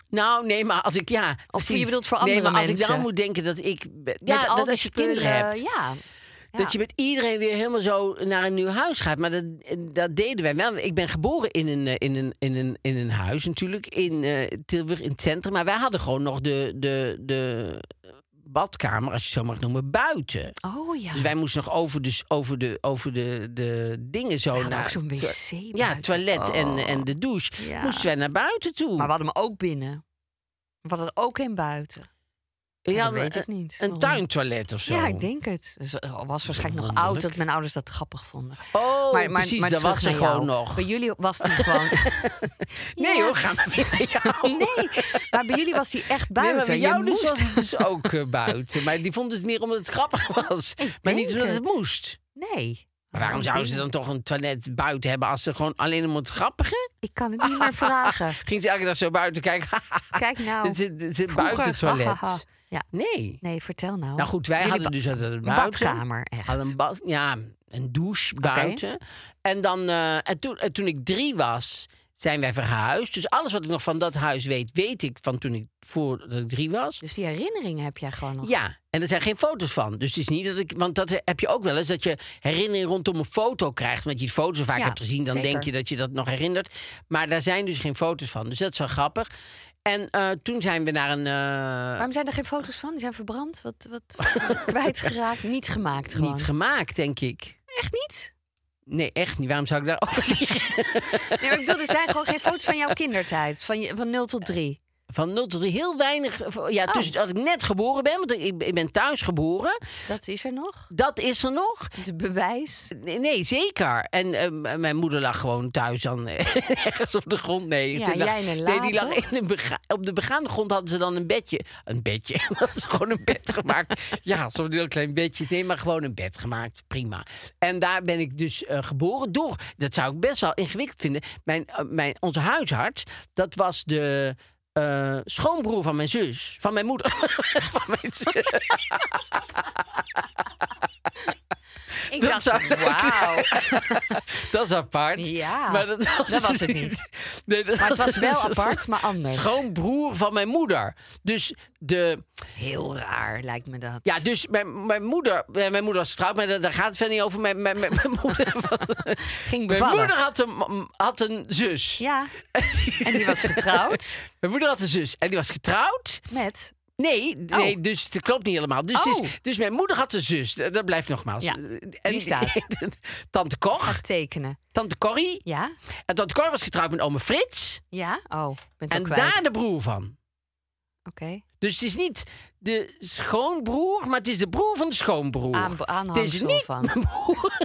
[SPEAKER 2] Nou, nee, maar als ik ja. precies.
[SPEAKER 1] je bedoelt voor
[SPEAKER 2] nee,
[SPEAKER 1] andere
[SPEAKER 2] maar als ik
[SPEAKER 1] mensen.
[SPEAKER 2] dan moet denken dat ik. Ja,
[SPEAKER 1] met al
[SPEAKER 2] dat
[SPEAKER 1] die
[SPEAKER 2] als je kinderen
[SPEAKER 1] spullen,
[SPEAKER 2] hebt.
[SPEAKER 1] Ja. Ja.
[SPEAKER 2] Dat je met iedereen weer helemaal zo naar een nieuw huis gaat. Maar dat, dat deden wij wel. Ik ben geboren in een, eh, in een, in een, in een huis natuurlijk. In eh, Tilburg, in het centrum. Maar wij hadden gewoon nog de, de, de badkamer, als je het zo mag noemen, buiten.
[SPEAKER 1] Oh ja.
[SPEAKER 2] Dus wij moesten nog over de, over de, over de, de dingen zo
[SPEAKER 1] hadden
[SPEAKER 2] naar...
[SPEAKER 1] ook zo'n wc
[SPEAKER 2] to- Ja,
[SPEAKER 1] buiten. Oh.
[SPEAKER 2] toilet en, en de douche.
[SPEAKER 1] Ja.
[SPEAKER 2] Moesten wij naar buiten toe.
[SPEAKER 1] Maar we hadden hem ook binnen. We hadden er ook een buiten.
[SPEAKER 2] We
[SPEAKER 1] dat
[SPEAKER 2] hadden
[SPEAKER 1] weet ik
[SPEAKER 2] een-
[SPEAKER 1] niet.
[SPEAKER 2] Een
[SPEAKER 1] Oh.
[SPEAKER 2] tuintoilet of zo.
[SPEAKER 1] Ja, ik denk het. Dus, eh, was waarschijnlijk nog
[SPEAKER 2] Wonderlijk.
[SPEAKER 1] oud dat mijn ouders dat grappig vonden.
[SPEAKER 2] Oh, precies, dat
[SPEAKER 1] terug
[SPEAKER 2] was ze
[SPEAKER 1] naar jou.
[SPEAKER 2] gewoon nog.
[SPEAKER 1] Bij jullie was die gewoon...
[SPEAKER 2] Nee
[SPEAKER 1] Ja.
[SPEAKER 2] hoor, ga maar weer naar jou.
[SPEAKER 1] Nee, maar bij jullie was die echt
[SPEAKER 2] Oh. Nee,
[SPEAKER 1] buiten.
[SPEAKER 2] maar bij
[SPEAKER 1] Je
[SPEAKER 2] jou dus
[SPEAKER 1] moest-
[SPEAKER 2] was het dus ook eh, buiten. Maar die vonden het meer omdat het grappig was. maar
[SPEAKER 1] denk
[SPEAKER 2] niet omdat het
[SPEAKER 1] het. Nou,
[SPEAKER 2] moest.
[SPEAKER 1] Nee.
[SPEAKER 2] Maar Waarom zouden ze dan toch een toilet buiten hebben als ze gewoon alleen om het grappige? Ah,
[SPEAKER 1] Ik kan het niet meer vragen.
[SPEAKER 2] Ging ze elke dag zo buiten kijken?
[SPEAKER 1] Kijk nou.
[SPEAKER 2] Dit zit- dit zit
[SPEAKER 1] Vroeger,
[SPEAKER 2] buiten het toilet.
[SPEAKER 1] hahaha. ja.
[SPEAKER 2] Nee.
[SPEAKER 1] Nee, vertel nou.
[SPEAKER 2] Nou goed, wij
[SPEAKER 1] Jullie
[SPEAKER 2] hadden
[SPEAKER 1] ba-
[SPEAKER 2] dus dat buiten.
[SPEAKER 1] badkamer, echt.
[SPEAKER 2] Hadden een bad, ja, een douche buiten. En, dan, eh, en toen, en toen ik drie was, zijn wij verhuisd. Dus alles wat ik nog van dat huis weet, weet ik van toen ik voordat ik drie was.
[SPEAKER 1] Dus die herinneringen heb jij gewoon nog.
[SPEAKER 2] Ja, en er zijn geen foto's van. Dus het is niet dat ik. Want dat heb je ook wel eens, dat je herinnering rondom een foto krijgt. Omdat je het foto zo vaak
[SPEAKER 1] Ja,
[SPEAKER 2] hebt gezien, dan
[SPEAKER 1] zeker.
[SPEAKER 2] denk je dat je dat nog herinnert. Maar daar zijn dus geen foto's van. Dus dat is wel grappig. En eh, toen zijn we naar een. eh,
[SPEAKER 1] Waarom zijn er geen foto's van? Die zijn verbrand, wat, wat kwijtgeraakt, niet gemaakt gewoon.
[SPEAKER 2] niet gemaakt, denk ik.
[SPEAKER 1] Echt niet?
[SPEAKER 2] Nee, echt niet. Waarom zou ik daarover liegen?
[SPEAKER 1] Nee, maar ik bedoel, er zijn gewoon geen foto's van jouw kindertijd. Van, je, van 0 tot 3.
[SPEAKER 2] Van 0 tot 3 heel weinig. eh, Ja,
[SPEAKER 1] Oh.
[SPEAKER 2] tussen als ik net geboren ben, want ik, ik ben thuis geboren.
[SPEAKER 1] Dat is er nog.
[SPEAKER 2] Dat is er nog.
[SPEAKER 1] Het bewijs.
[SPEAKER 2] Nee, nee, zeker. En eh, m- mijn moeder lag gewoon thuis dan eh, ergens op de grond. Nee,
[SPEAKER 1] Ja,
[SPEAKER 2] toen lag-
[SPEAKER 1] jij in een
[SPEAKER 2] nee die
[SPEAKER 1] la,
[SPEAKER 2] lag
[SPEAKER 1] toch?
[SPEAKER 2] in een bega- op de begaande grond hadden ze dan een bedje. Een bedje, dat is gewoon een bed gemaakt. ja, zo'n heel klein bedje. Nee, maar gewoon een bed gemaakt. Prima. En daar ben ik dus eh, geboren door. Dat zou ik best wel ingewikkeld vinden. Mijn, eh, mijn, onze huisarts, dat was de... eh, schoonbroer van mijn zus, van mijn moeder. van mijn zus.
[SPEAKER 1] Ik
[SPEAKER 2] Dat
[SPEAKER 1] dacht,
[SPEAKER 2] zou leuk
[SPEAKER 1] wauw.
[SPEAKER 2] Dat is apart.
[SPEAKER 1] Ja,
[SPEAKER 2] maar dat was, dus
[SPEAKER 1] dat was het
[SPEAKER 2] Nee, dat
[SPEAKER 1] Maar het was wel
[SPEAKER 2] dus een
[SPEAKER 1] apart, maar anders.
[SPEAKER 2] Schoonbroer van mijn moeder. Dus, de,
[SPEAKER 1] Heel raar lijkt me dat.
[SPEAKER 2] ja, dus mijn, mijn moeder... eh, Mijn moeder was getrouwd, maar daar- daar gaat het verder niet over. Mijn, mijn, mijn, mijn moeder,
[SPEAKER 1] Ging
[SPEAKER 2] mijn
[SPEAKER 1] bevallen.
[SPEAKER 2] moeder had, een, had een zus.
[SPEAKER 1] Ja. En die was getrouwd
[SPEAKER 2] Mijn moeder had een zus en die was getrouwd.
[SPEAKER 1] met...
[SPEAKER 2] Nee, nee dus het klopt niet helemaal. Dus, het is-
[SPEAKER 1] Oh.
[SPEAKER 2] dus mijn moeder had een zus. Dat dat blijft nogmaals.
[SPEAKER 1] Ja,
[SPEAKER 2] En-
[SPEAKER 1] die staat.
[SPEAKER 2] Tante Cor,
[SPEAKER 1] Gaat tekenen.
[SPEAKER 2] tante Corrie.
[SPEAKER 1] Ja?
[SPEAKER 2] En tante Cor was getrouwd met oma Frits.
[SPEAKER 1] Ja? Oh, ik ben het
[SPEAKER 2] En
[SPEAKER 1] al kwijt.
[SPEAKER 2] daar de broer van.
[SPEAKER 1] Oké.
[SPEAKER 2] Dus het is niet de schoonbroer, maar het is de broer van de schoonbroer.
[SPEAKER 1] Aan-
[SPEAKER 2] het is
[SPEAKER 1] aanhangsel
[SPEAKER 2] niet
[SPEAKER 1] van.
[SPEAKER 2] mijn broer.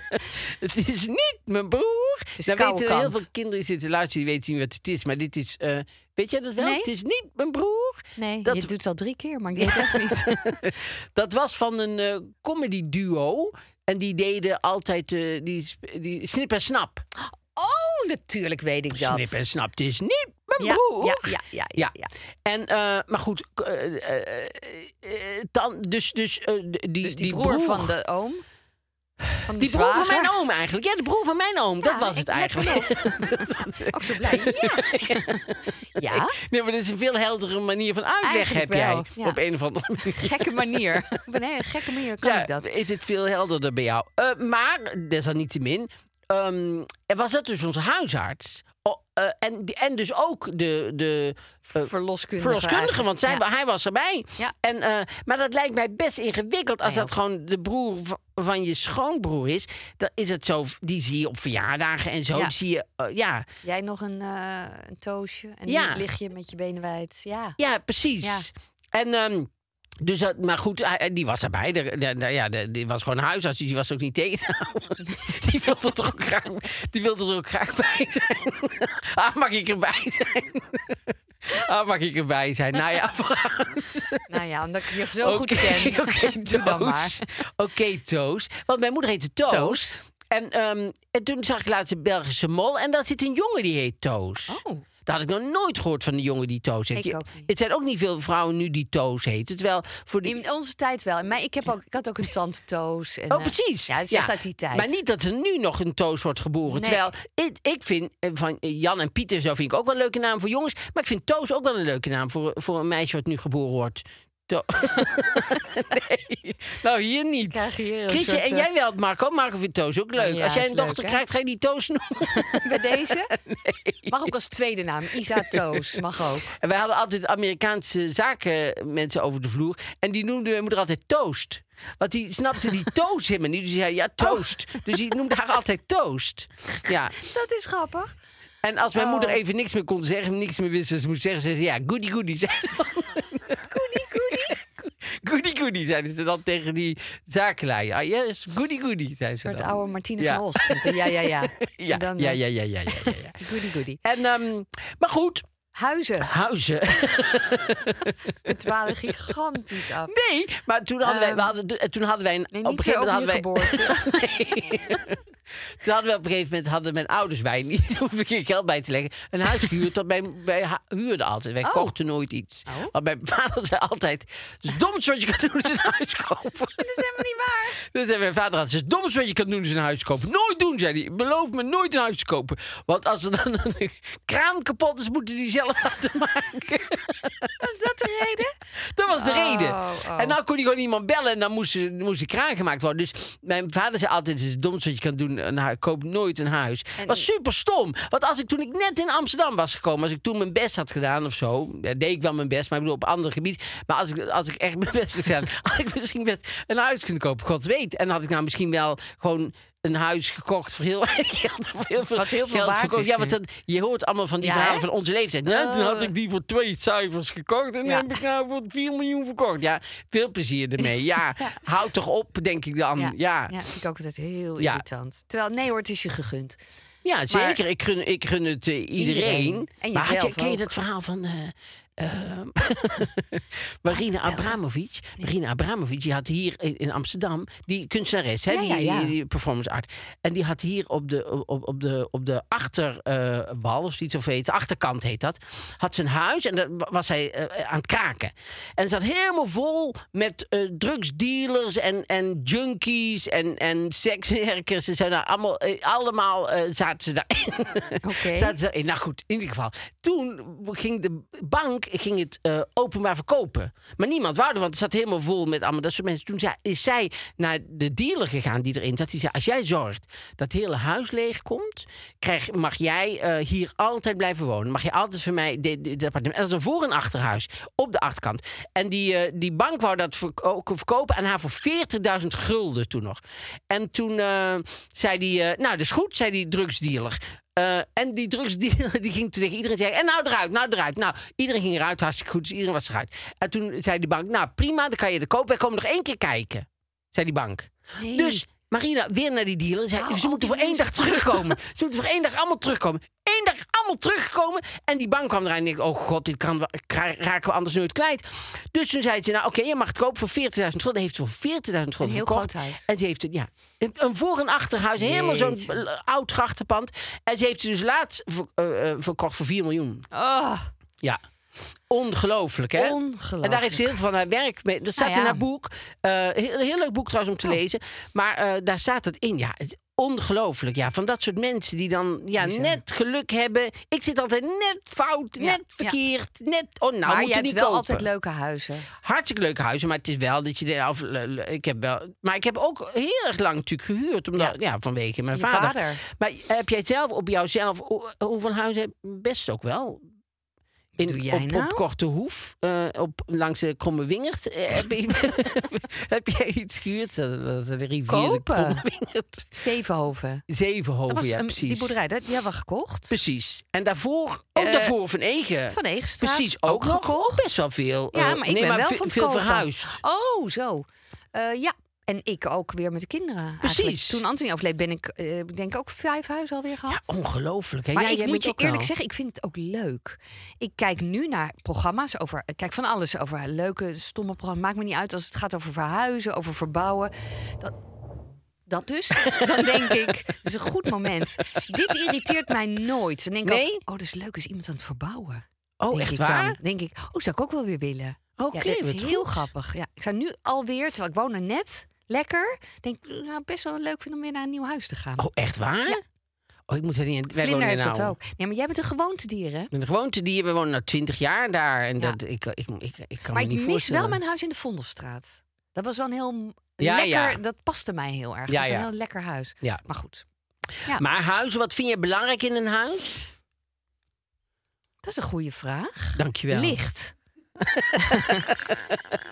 [SPEAKER 2] het is niet mijn broer.
[SPEAKER 1] is
[SPEAKER 2] Dan
[SPEAKER 1] koude
[SPEAKER 2] weten er heel
[SPEAKER 1] kant.
[SPEAKER 2] veel kinderen die zitten luisteren, die weten niet wat het is. Maar dit is, eh, weet jij dat wel?
[SPEAKER 1] Nee.
[SPEAKER 2] Het is niet mijn broer.
[SPEAKER 1] Nee,
[SPEAKER 2] dat Dus
[SPEAKER 1] je doet het al drie keer, maar ik weet het echt niet.
[SPEAKER 2] Dat was van een eh, comedy duo. En die deden altijd eh, die, sp- die snip en snap.
[SPEAKER 1] Oh, natuurlijk weet ik dat.
[SPEAKER 2] Snip en snap, het is niet mijn
[SPEAKER 1] Ja,
[SPEAKER 2] broer.
[SPEAKER 1] ja, ja, ja, ja, ja.
[SPEAKER 2] En, eh, maar goed, k- eh, eh, eh, eh, dan, dus, dus, eh, d- die,
[SPEAKER 1] Dus die, broer, van de oom. Van de
[SPEAKER 2] Die broer van
[SPEAKER 1] zwager.
[SPEAKER 2] mijn oom eigenlijk. Ja, de broer van mijn oom.
[SPEAKER 1] Ja,
[SPEAKER 2] dat was
[SPEAKER 1] ik
[SPEAKER 2] het
[SPEAKER 1] merk
[SPEAKER 2] eigenlijk.
[SPEAKER 1] ook. Ook Oh, zo blij. Ja. ja,
[SPEAKER 2] Nee, maar dat is een veel heldere manier van uitleg
[SPEAKER 1] Eigenlijk
[SPEAKER 2] heb
[SPEAKER 1] wel,
[SPEAKER 2] jij.
[SPEAKER 1] ja.
[SPEAKER 2] Op een of andere manier.
[SPEAKER 1] gekke manier. Op een hele gekke manier kan
[SPEAKER 2] Ja,
[SPEAKER 1] ik dat.
[SPEAKER 2] is het veel helderder bij jou. Eh, maar, desalniettemin, ehm, er was dat dus onze huisarts. Oh, eh, en, die- en dus ook de, de eh,
[SPEAKER 1] Verloskundige.
[SPEAKER 2] verloskundige,
[SPEAKER 1] eigenlijk.
[SPEAKER 2] want zij,
[SPEAKER 1] Ja.
[SPEAKER 2] hij was erbij.
[SPEAKER 1] Ja.
[SPEAKER 2] En, eh, maar dat lijkt mij best ingewikkeld als
[SPEAKER 1] Mij
[SPEAKER 2] dat gewoon de broer v- van je schoonbroer is. Dan is het zo, die zie je op verjaardagen en zo.
[SPEAKER 1] Ja.
[SPEAKER 2] Die zie je, eh, ja.
[SPEAKER 1] Jij nog een, eh, een toosje. En
[SPEAKER 2] Ja.
[SPEAKER 1] hier lig je met je benen wijd. Ja.
[SPEAKER 2] Ja, precies.
[SPEAKER 1] Ja.
[SPEAKER 2] En ehm, dus, dat- maar goed, hij- die was erbij. De, de- de- ja, de- die was gewoon huisarts, dus die was ook niet tegenhouden. Die wilde er ook graag, die wilde er ook graag bij zijn. Ah, mag ik erbij zijn? Ah, mag ik erbij zijn? Nou ja, vooruit.
[SPEAKER 1] Nou ja, omdat ik je zo
[SPEAKER 2] Oké,
[SPEAKER 1] goed ken.
[SPEAKER 2] Oké,
[SPEAKER 1] Doe dan
[SPEAKER 2] Toos.
[SPEAKER 1] maar.
[SPEAKER 2] Oké, Toos. Want mijn moeder heette Toos.
[SPEAKER 1] Toos.
[SPEAKER 2] En, ehm, en toen zag ik laatst een Belgische mol. En daar zit een jongen die heet Toos.
[SPEAKER 1] Oh.
[SPEAKER 2] Dat had ik nog nooit gehoord van een jongen die Toos heet.
[SPEAKER 1] Ik
[SPEAKER 2] Je-
[SPEAKER 1] ook niet.
[SPEAKER 2] Het zijn ook niet veel vrouwen nu die Toos heten. Terwijl voor die...
[SPEAKER 1] In onze tijd wel. Maar ik, heb ook, ik had ook een tante Toos. En,
[SPEAKER 2] Oh,
[SPEAKER 1] eh,
[SPEAKER 2] precies.
[SPEAKER 1] Ja, het is echt uit die tijd.
[SPEAKER 2] Maar niet dat er nu nog een Toos wordt geboren.
[SPEAKER 1] Nee.
[SPEAKER 2] Terwijl ik, ik vind, eh, van eh, Jan en Pieter zo vind ik ook wel een leuke naam voor jongens. Maar ik vind Toos ook wel een leuke naam voor, voor een meisje wat nu geboren wordt. To- nee, nou hier niet.
[SPEAKER 1] Krijg je hier een
[SPEAKER 2] Chrisje,
[SPEAKER 1] soort,
[SPEAKER 2] en
[SPEAKER 1] eh,
[SPEAKER 2] jij wel, Marco. Marco vindt Toos ook leuk.
[SPEAKER 1] Ja,
[SPEAKER 2] Als jij
[SPEAKER 1] is
[SPEAKER 2] een
[SPEAKER 1] leuk,
[SPEAKER 2] dochter
[SPEAKER 1] hè?
[SPEAKER 2] krijgt, ga je die Toos noemen.
[SPEAKER 1] Bij deze? Mag ook als tweede naam. Isa Toos. Mag ook.
[SPEAKER 2] En wij hadden altijd Amerikaanse zakenmensen over de vloer. En die noemde mijn moeder altijd toast. Want die snapte die toast helemaal niet. Dus die zei, ja, toast. Dus die noemde haar altijd toast. Ja.
[SPEAKER 1] Dat is grappig.
[SPEAKER 2] En als mijn
[SPEAKER 1] Oh.
[SPEAKER 2] moeder even niks meer kon zeggen, niks meer wist, wat ze moest zeggen, zei ze, ja, goody goody. zei ze dan. Goody goody, zeiden ze dan tegen die zakenlui. Ah, yes, goody goody, zei
[SPEAKER 1] Een
[SPEAKER 2] ze
[SPEAKER 1] soort
[SPEAKER 2] dan.
[SPEAKER 1] oude Martine
[SPEAKER 2] Ja.
[SPEAKER 1] van Os. Met een Ja, ja, ja.
[SPEAKER 2] Ja,
[SPEAKER 1] En dan,
[SPEAKER 2] ja,
[SPEAKER 1] eh,
[SPEAKER 2] ja, ja, ja, ja, ja, ja.
[SPEAKER 1] Goody, goody.
[SPEAKER 2] En, ehm, maar goed,
[SPEAKER 1] Huizen.
[SPEAKER 2] huizen.
[SPEAKER 1] Het waren gigantisch af.
[SPEAKER 2] Nee, maar toen hadden wij, we
[SPEAKER 1] Ehm,
[SPEAKER 2] hadden, de- eh, toen hadden wij een,
[SPEAKER 1] Nee,
[SPEAKER 2] op een
[SPEAKER 1] niet
[SPEAKER 2] gegeven
[SPEAKER 1] weer
[SPEAKER 2] moment
[SPEAKER 1] over
[SPEAKER 2] hadden
[SPEAKER 1] je
[SPEAKER 2] wij,
[SPEAKER 1] geboorte.
[SPEAKER 2] Nee. toen hadden we op een gegeven moment hadden mijn ouders wij niet, daar hoef ik geen geld bij te leggen, een huis gehuurd. Dat wij, wij ha- huurden altijd, wij
[SPEAKER 1] Oh.
[SPEAKER 2] kochten nooit iets. Want mijn vader zei altijd: "Het is domst wat je kan doen is een huis kopen."
[SPEAKER 1] Dat is helemaal niet waar.
[SPEAKER 2] Dat zei mijn vader altijd. Het domste wat je kan doen is een huis kopen. Nooit doen, zei hij. Beloof me nooit een huis te kopen. Want als er dan een kraan kapot is, moeten die zelf laten maken.
[SPEAKER 1] Was dat de reden?
[SPEAKER 2] Dat was de
[SPEAKER 1] Oh,
[SPEAKER 2] reden.
[SPEAKER 1] oh.
[SPEAKER 2] En nou kon hij gewoon iemand bellen en dan moest, er- moest de kraan gemaakt worden. Dus mijn vader zei altijd, het is het domste wat je kan doen. Een hu- koop nooit een huis. was super stom. Want als ik toen ik net in Amsterdam was gekomen, als ik toen mijn best had gedaan of zo. ja, deed ik wel mijn best, maar ik bedoel op ander gebied. Maar als ik, als ik echt mijn best had gedaan, had ik misschien best een huis kunnen kopen. God weet. En dan had ik nou misschien wel gewoon een huis gekocht voor heel weinig geld. Voor heel veel
[SPEAKER 1] Wat heel veel
[SPEAKER 2] geld
[SPEAKER 1] waard
[SPEAKER 2] verkocht.
[SPEAKER 1] is
[SPEAKER 2] Ja,
[SPEAKER 1] nu.
[SPEAKER 2] want dan, je hoort allemaal van die
[SPEAKER 1] Ja,
[SPEAKER 2] verhalen
[SPEAKER 1] hè? Oh,
[SPEAKER 2] van onze leeftijd. Nou, toen had ik die voor twee cijfers gekocht en
[SPEAKER 1] Ja.
[SPEAKER 2] heb ik nou voor 4 miljoen verkocht. Ja, veel plezier ermee. Ja, houd toch op, denk ik dan. Ja, ja.
[SPEAKER 1] ja, vind ik ook altijd heel
[SPEAKER 2] Ja.
[SPEAKER 1] irritant. Terwijl, nee hoor, het is je gegund.
[SPEAKER 2] zeker. Ik gun, ik gun het eh, iedereen.
[SPEAKER 1] Iedereen. En
[SPEAKER 2] maar had je,
[SPEAKER 1] jezelf
[SPEAKER 2] ken je
[SPEAKER 1] ook.
[SPEAKER 2] dat verhaal van... eh eh, Marina Abramovic. Marina Abramovic, die had hier in in Amsterdam... Die kunstenares, hè,
[SPEAKER 1] Ja,
[SPEAKER 2] die,
[SPEAKER 1] ja, ja.
[SPEAKER 2] die- die performance art. En die had hier op de, op, op de, op de achterwal, of zoiets of heet, de achterkant heet dat, had zijn huis en daar wa- was hij eh, aan het kraken. En het zat helemaal vol met eh, drugsdealers en, en junkies en, en sekswerkers. Ze zijn daar allemaal, eh, allemaal eh, zaten ze daarin.
[SPEAKER 1] Oké.
[SPEAKER 2] Zaten ze daarin. Nou goed, in ieder geval. Toen ging de bank ging het eh, openbaar verkopen. Maar niemand wou er, want het zat helemaal vol met allemaal dat soort mensen. Toen zei- is zij naar de dealer gegaan die erin zat. Die zei, als jij zorgt dat het hele huis leeg komt... Krijg, mag jij eh, hier altijd blijven wonen. Mag je altijd voor mij dit dit appartement... En dat is een voor- en achterhuis op de achterkant. En die, eh, die bank wou dat verko- verkopen aan haar voor 40.000 gulden toen nog. En toen eh, zei die, eh, nou dat is goed, zei die drugsdealer... Eh, Eh, en die drugsdealer die ging toen tegen iedereen zeggen... en nou eruit, nou eruit. Nou, iedereen ging eruit, hartstikke goed. Dus iedereen was eruit. En toen zei die bank, nou prima, dan kan je de koop. Wij komen nog één keer kijken, zei die bank.
[SPEAKER 1] Nee.
[SPEAKER 2] Dus Marina weer naar die dealer en zei...
[SPEAKER 1] Nou,
[SPEAKER 2] ze
[SPEAKER 1] al
[SPEAKER 2] moeten
[SPEAKER 1] die
[SPEAKER 2] voor één dag
[SPEAKER 1] mensen.
[SPEAKER 2] terugkomen. ze moeten voor één dag allemaal terugkomen. Eén dag allemaal terugkomen. En die bank kwam eraan en ik, oh god, dit kan, we- kra- raken we anders nooit kwijt. Dus toen zei ze, nou oké, je mag het kopen voor 40.000 gulden. Heeft ze voor 40.000 gulden
[SPEAKER 1] Een heel
[SPEAKER 2] verkocht.
[SPEAKER 1] groot huis.
[SPEAKER 2] En ze heeft het, ja, een- een voor- en achterhuis, helemaal zo'n
[SPEAKER 1] Jeetje.
[SPEAKER 2] l- oud grachtenpand. En ze heeft het dus laatst ver- eh, eh, verkocht voor 4 miljoen.
[SPEAKER 1] Oh,
[SPEAKER 2] Ja. Ongelooflijk, hè?
[SPEAKER 1] Ongelooflijk.
[SPEAKER 2] En daar heeft ze heel veel van haar werk mee. Dat staat
[SPEAKER 1] Nou ja. Oh.
[SPEAKER 2] in haar boek. Eh, heel, heel leuk boek trouwens om te lezen. Maar eh, daar staat het in. Ja, het- ongelooflijk. Ja, van dat soort mensen die dan ja,
[SPEAKER 1] Die zijn-
[SPEAKER 2] net geluk hebben. Ik zit altijd net fout,
[SPEAKER 1] Ja,
[SPEAKER 2] net
[SPEAKER 1] ja.
[SPEAKER 2] verkeerd. Net, oh, nou,
[SPEAKER 1] maar
[SPEAKER 2] moet
[SPEAKER 1] je
[SPEAKER 2] er
[SPEAKER 1] hebt
[SPEAKER 2] niet
[SPEAKER 1] wel
[SPEAKER 2] kopen.
[SPEAKER 1] altijd leuke huizen.
[SPEAKER 2] Hartstikke leuke huizen, maar het is wel dat je de af- le- le- ik heb wel, maar ik heb ook heel erg lang natuurlijk gehuurd, omdat ja, vanwege mijn
[SPEAKER 1] Je
[SPEAKER 2] vader.
[SPEAKER 1] vader.
[SPEAKER 2] Maar heb jij zelf op jouzelf hoe- hoeveel huizen heb- best ook wel? In,
[SPEAKER 1] Doe jij
[SPEAKER 2] op,
[SPEAKER 1] nou?
[SPEAKER 2] op korte hoef, eh, op, langs de Kromme Wingert. eh, heb, je, heb jij iets gehuurd? Dat was de rivier de
[SPEAKER 1] Kopen.
[SPEAKER 2] Kromme Wingert.
[SPEAKER 1] Zevenhoven.
[SPEAKER 2] Zevenhoven,
[SPEAKER 1] Dat was
[SPEAKER 2] ja,
[SPEAKER 1] een-
[SPEAKER 2] precies.
[SPEAKER 1] die boerderij, dat, die hebben we gekocht.
[SPEAKER 2] Precies. En daarvoor, ook
[SPEAKER 1] Eh,
[SPEAKER 2] daarvoor Van Egen.
[SPEAKER 1] Van Egenstraat,
[SPEAKER 2] Precies,
[SPEAKER 1] ook
[SPEAKER 2] ook, nog.
[SPEAKER 1] gekocht.
[SPEAKER 2] Ook best wel veel.
[SPEAKER 1] Ja,
[SPEAKER 2] eh,
[SPEAKER 1] maar ik
[SPEAKER 2] nee,
[SPEAKER 1] ben wel
[SPEAKER 2] ve-
[SPEAKER 1] van het
[SPEAKER 2] veel
[SPEAKER 1] kopen.
[SPEAKER 2] verhuisd.
[SPEAKER 1] Oh, zo. Eh, ja, en ik ook weer met de kinderen. eigenlijk.
[SPEAKER 2] Precies.
[SPEAKER 1] Toen Anthony overleed, ben ik eh, ik denk ook vijf huizen alweer gehad.
[SPEAKER 2] Ja, ongelooflijk. Hè?
[SPEAKER 1] Maar
[SPEAKER 2] Ja,
[SPEAKER 1] ik
[SPEAKER 2] jij
[SPEAKER 1] moet
[SPEAKER 2] bent
[SPEAKER 1] je
[SPEAKER 2] ook
[SPEAKER 1] eerlijk
[SPEAKER 2] wel.
[SPEAKER 1] zeggen, ik vind het ook leuk. Ik kijk nu naar programma's over. Ik kijk van alles over leuke, stomme programma's. Maakt me niet uit als het gaat over verhuizen, over verbouwen. Dat, dat dus. Dan denk ik, dat is een goed moment. Dit irriteert mij nooit. Dan denk ik
[SPEAKER 2] Nee?
[SPEAKER 1] altijd, oh, dat is leuk, is iemand aan het verbouwen.
[SPEAKER 2] Oh,
[SPEAKER 1] denk
[SPEAKER 2] echt
[SPEAKER 1] ik dan.
[SPEAKER 2] waar?
[SPEAKER 1] Denk ik, oh, zou ik ook wel weer willen.
[SPEAKER 2] Oké,
[SPEAKER 1] ja, dat is
[SPEAKER 2] wat
[SPEAKER 1] heel
[SPEAKER 2] goed.
[SPEAKER 1] grappig. Ja, ik zou nu alweer, terwijl ik woon er net, lekker. Denk, nou, best wel leuk vind om weer naar een nieuw huis te gaan.
[SPEAKER 2] Oh, echt waar?
[SPEAKER 1] Ja.
[SPEAKER 2] Oh, ik moet er niet in. Wij
[SPEAKER 1] Vlinder
[SPEAKER 2] wonen
[SPEAKER 1] heeft
[SPEAKER 2] nou.
[SPEAKER 1] dat ook. Nee, maar jij bent een gewoontedier, hè?
[SPEAKER 2] Een gewoontedier, we wonen nu 20 jaar daar. En
[SPEAKER 1] Ja.
[SPEAKER 2] dat, ik, ik, ik, ik kan
[SPEAKER 1] maar
[SPEAKER 2] me
[SPEAKER 1] ik
[SPEAKER 2] niet
[SPEAKER 1] mis
[SPEAKER 2] voorstellen.
[SPEAKER 1] wel mijn huis in de Vondelstraat. Dat was wel een heel m-
[SPEAKER 2] Ja,
[SPEAKER 1] lekker...
[SPEAKER 2] ja.
[SPEAKER 1] Dat paste mij heel erg.
[SPEAKER 2] Ja,
[SPEAKER 1] dat was
[SPEAKER 2] ja.
[SPEAKER 1] een heel lekker huis.
[SPEAKER 2] Ja.
[SPEAKER 1] Maar goed,
[SPEAKER 2] Maar huizen, wat vind je belangrijk in een huis?
[SPEAKER 1] dat is een goede vraag.
[SPEAKER 2] Dankjewel.
[SPEAKER 1] Licht.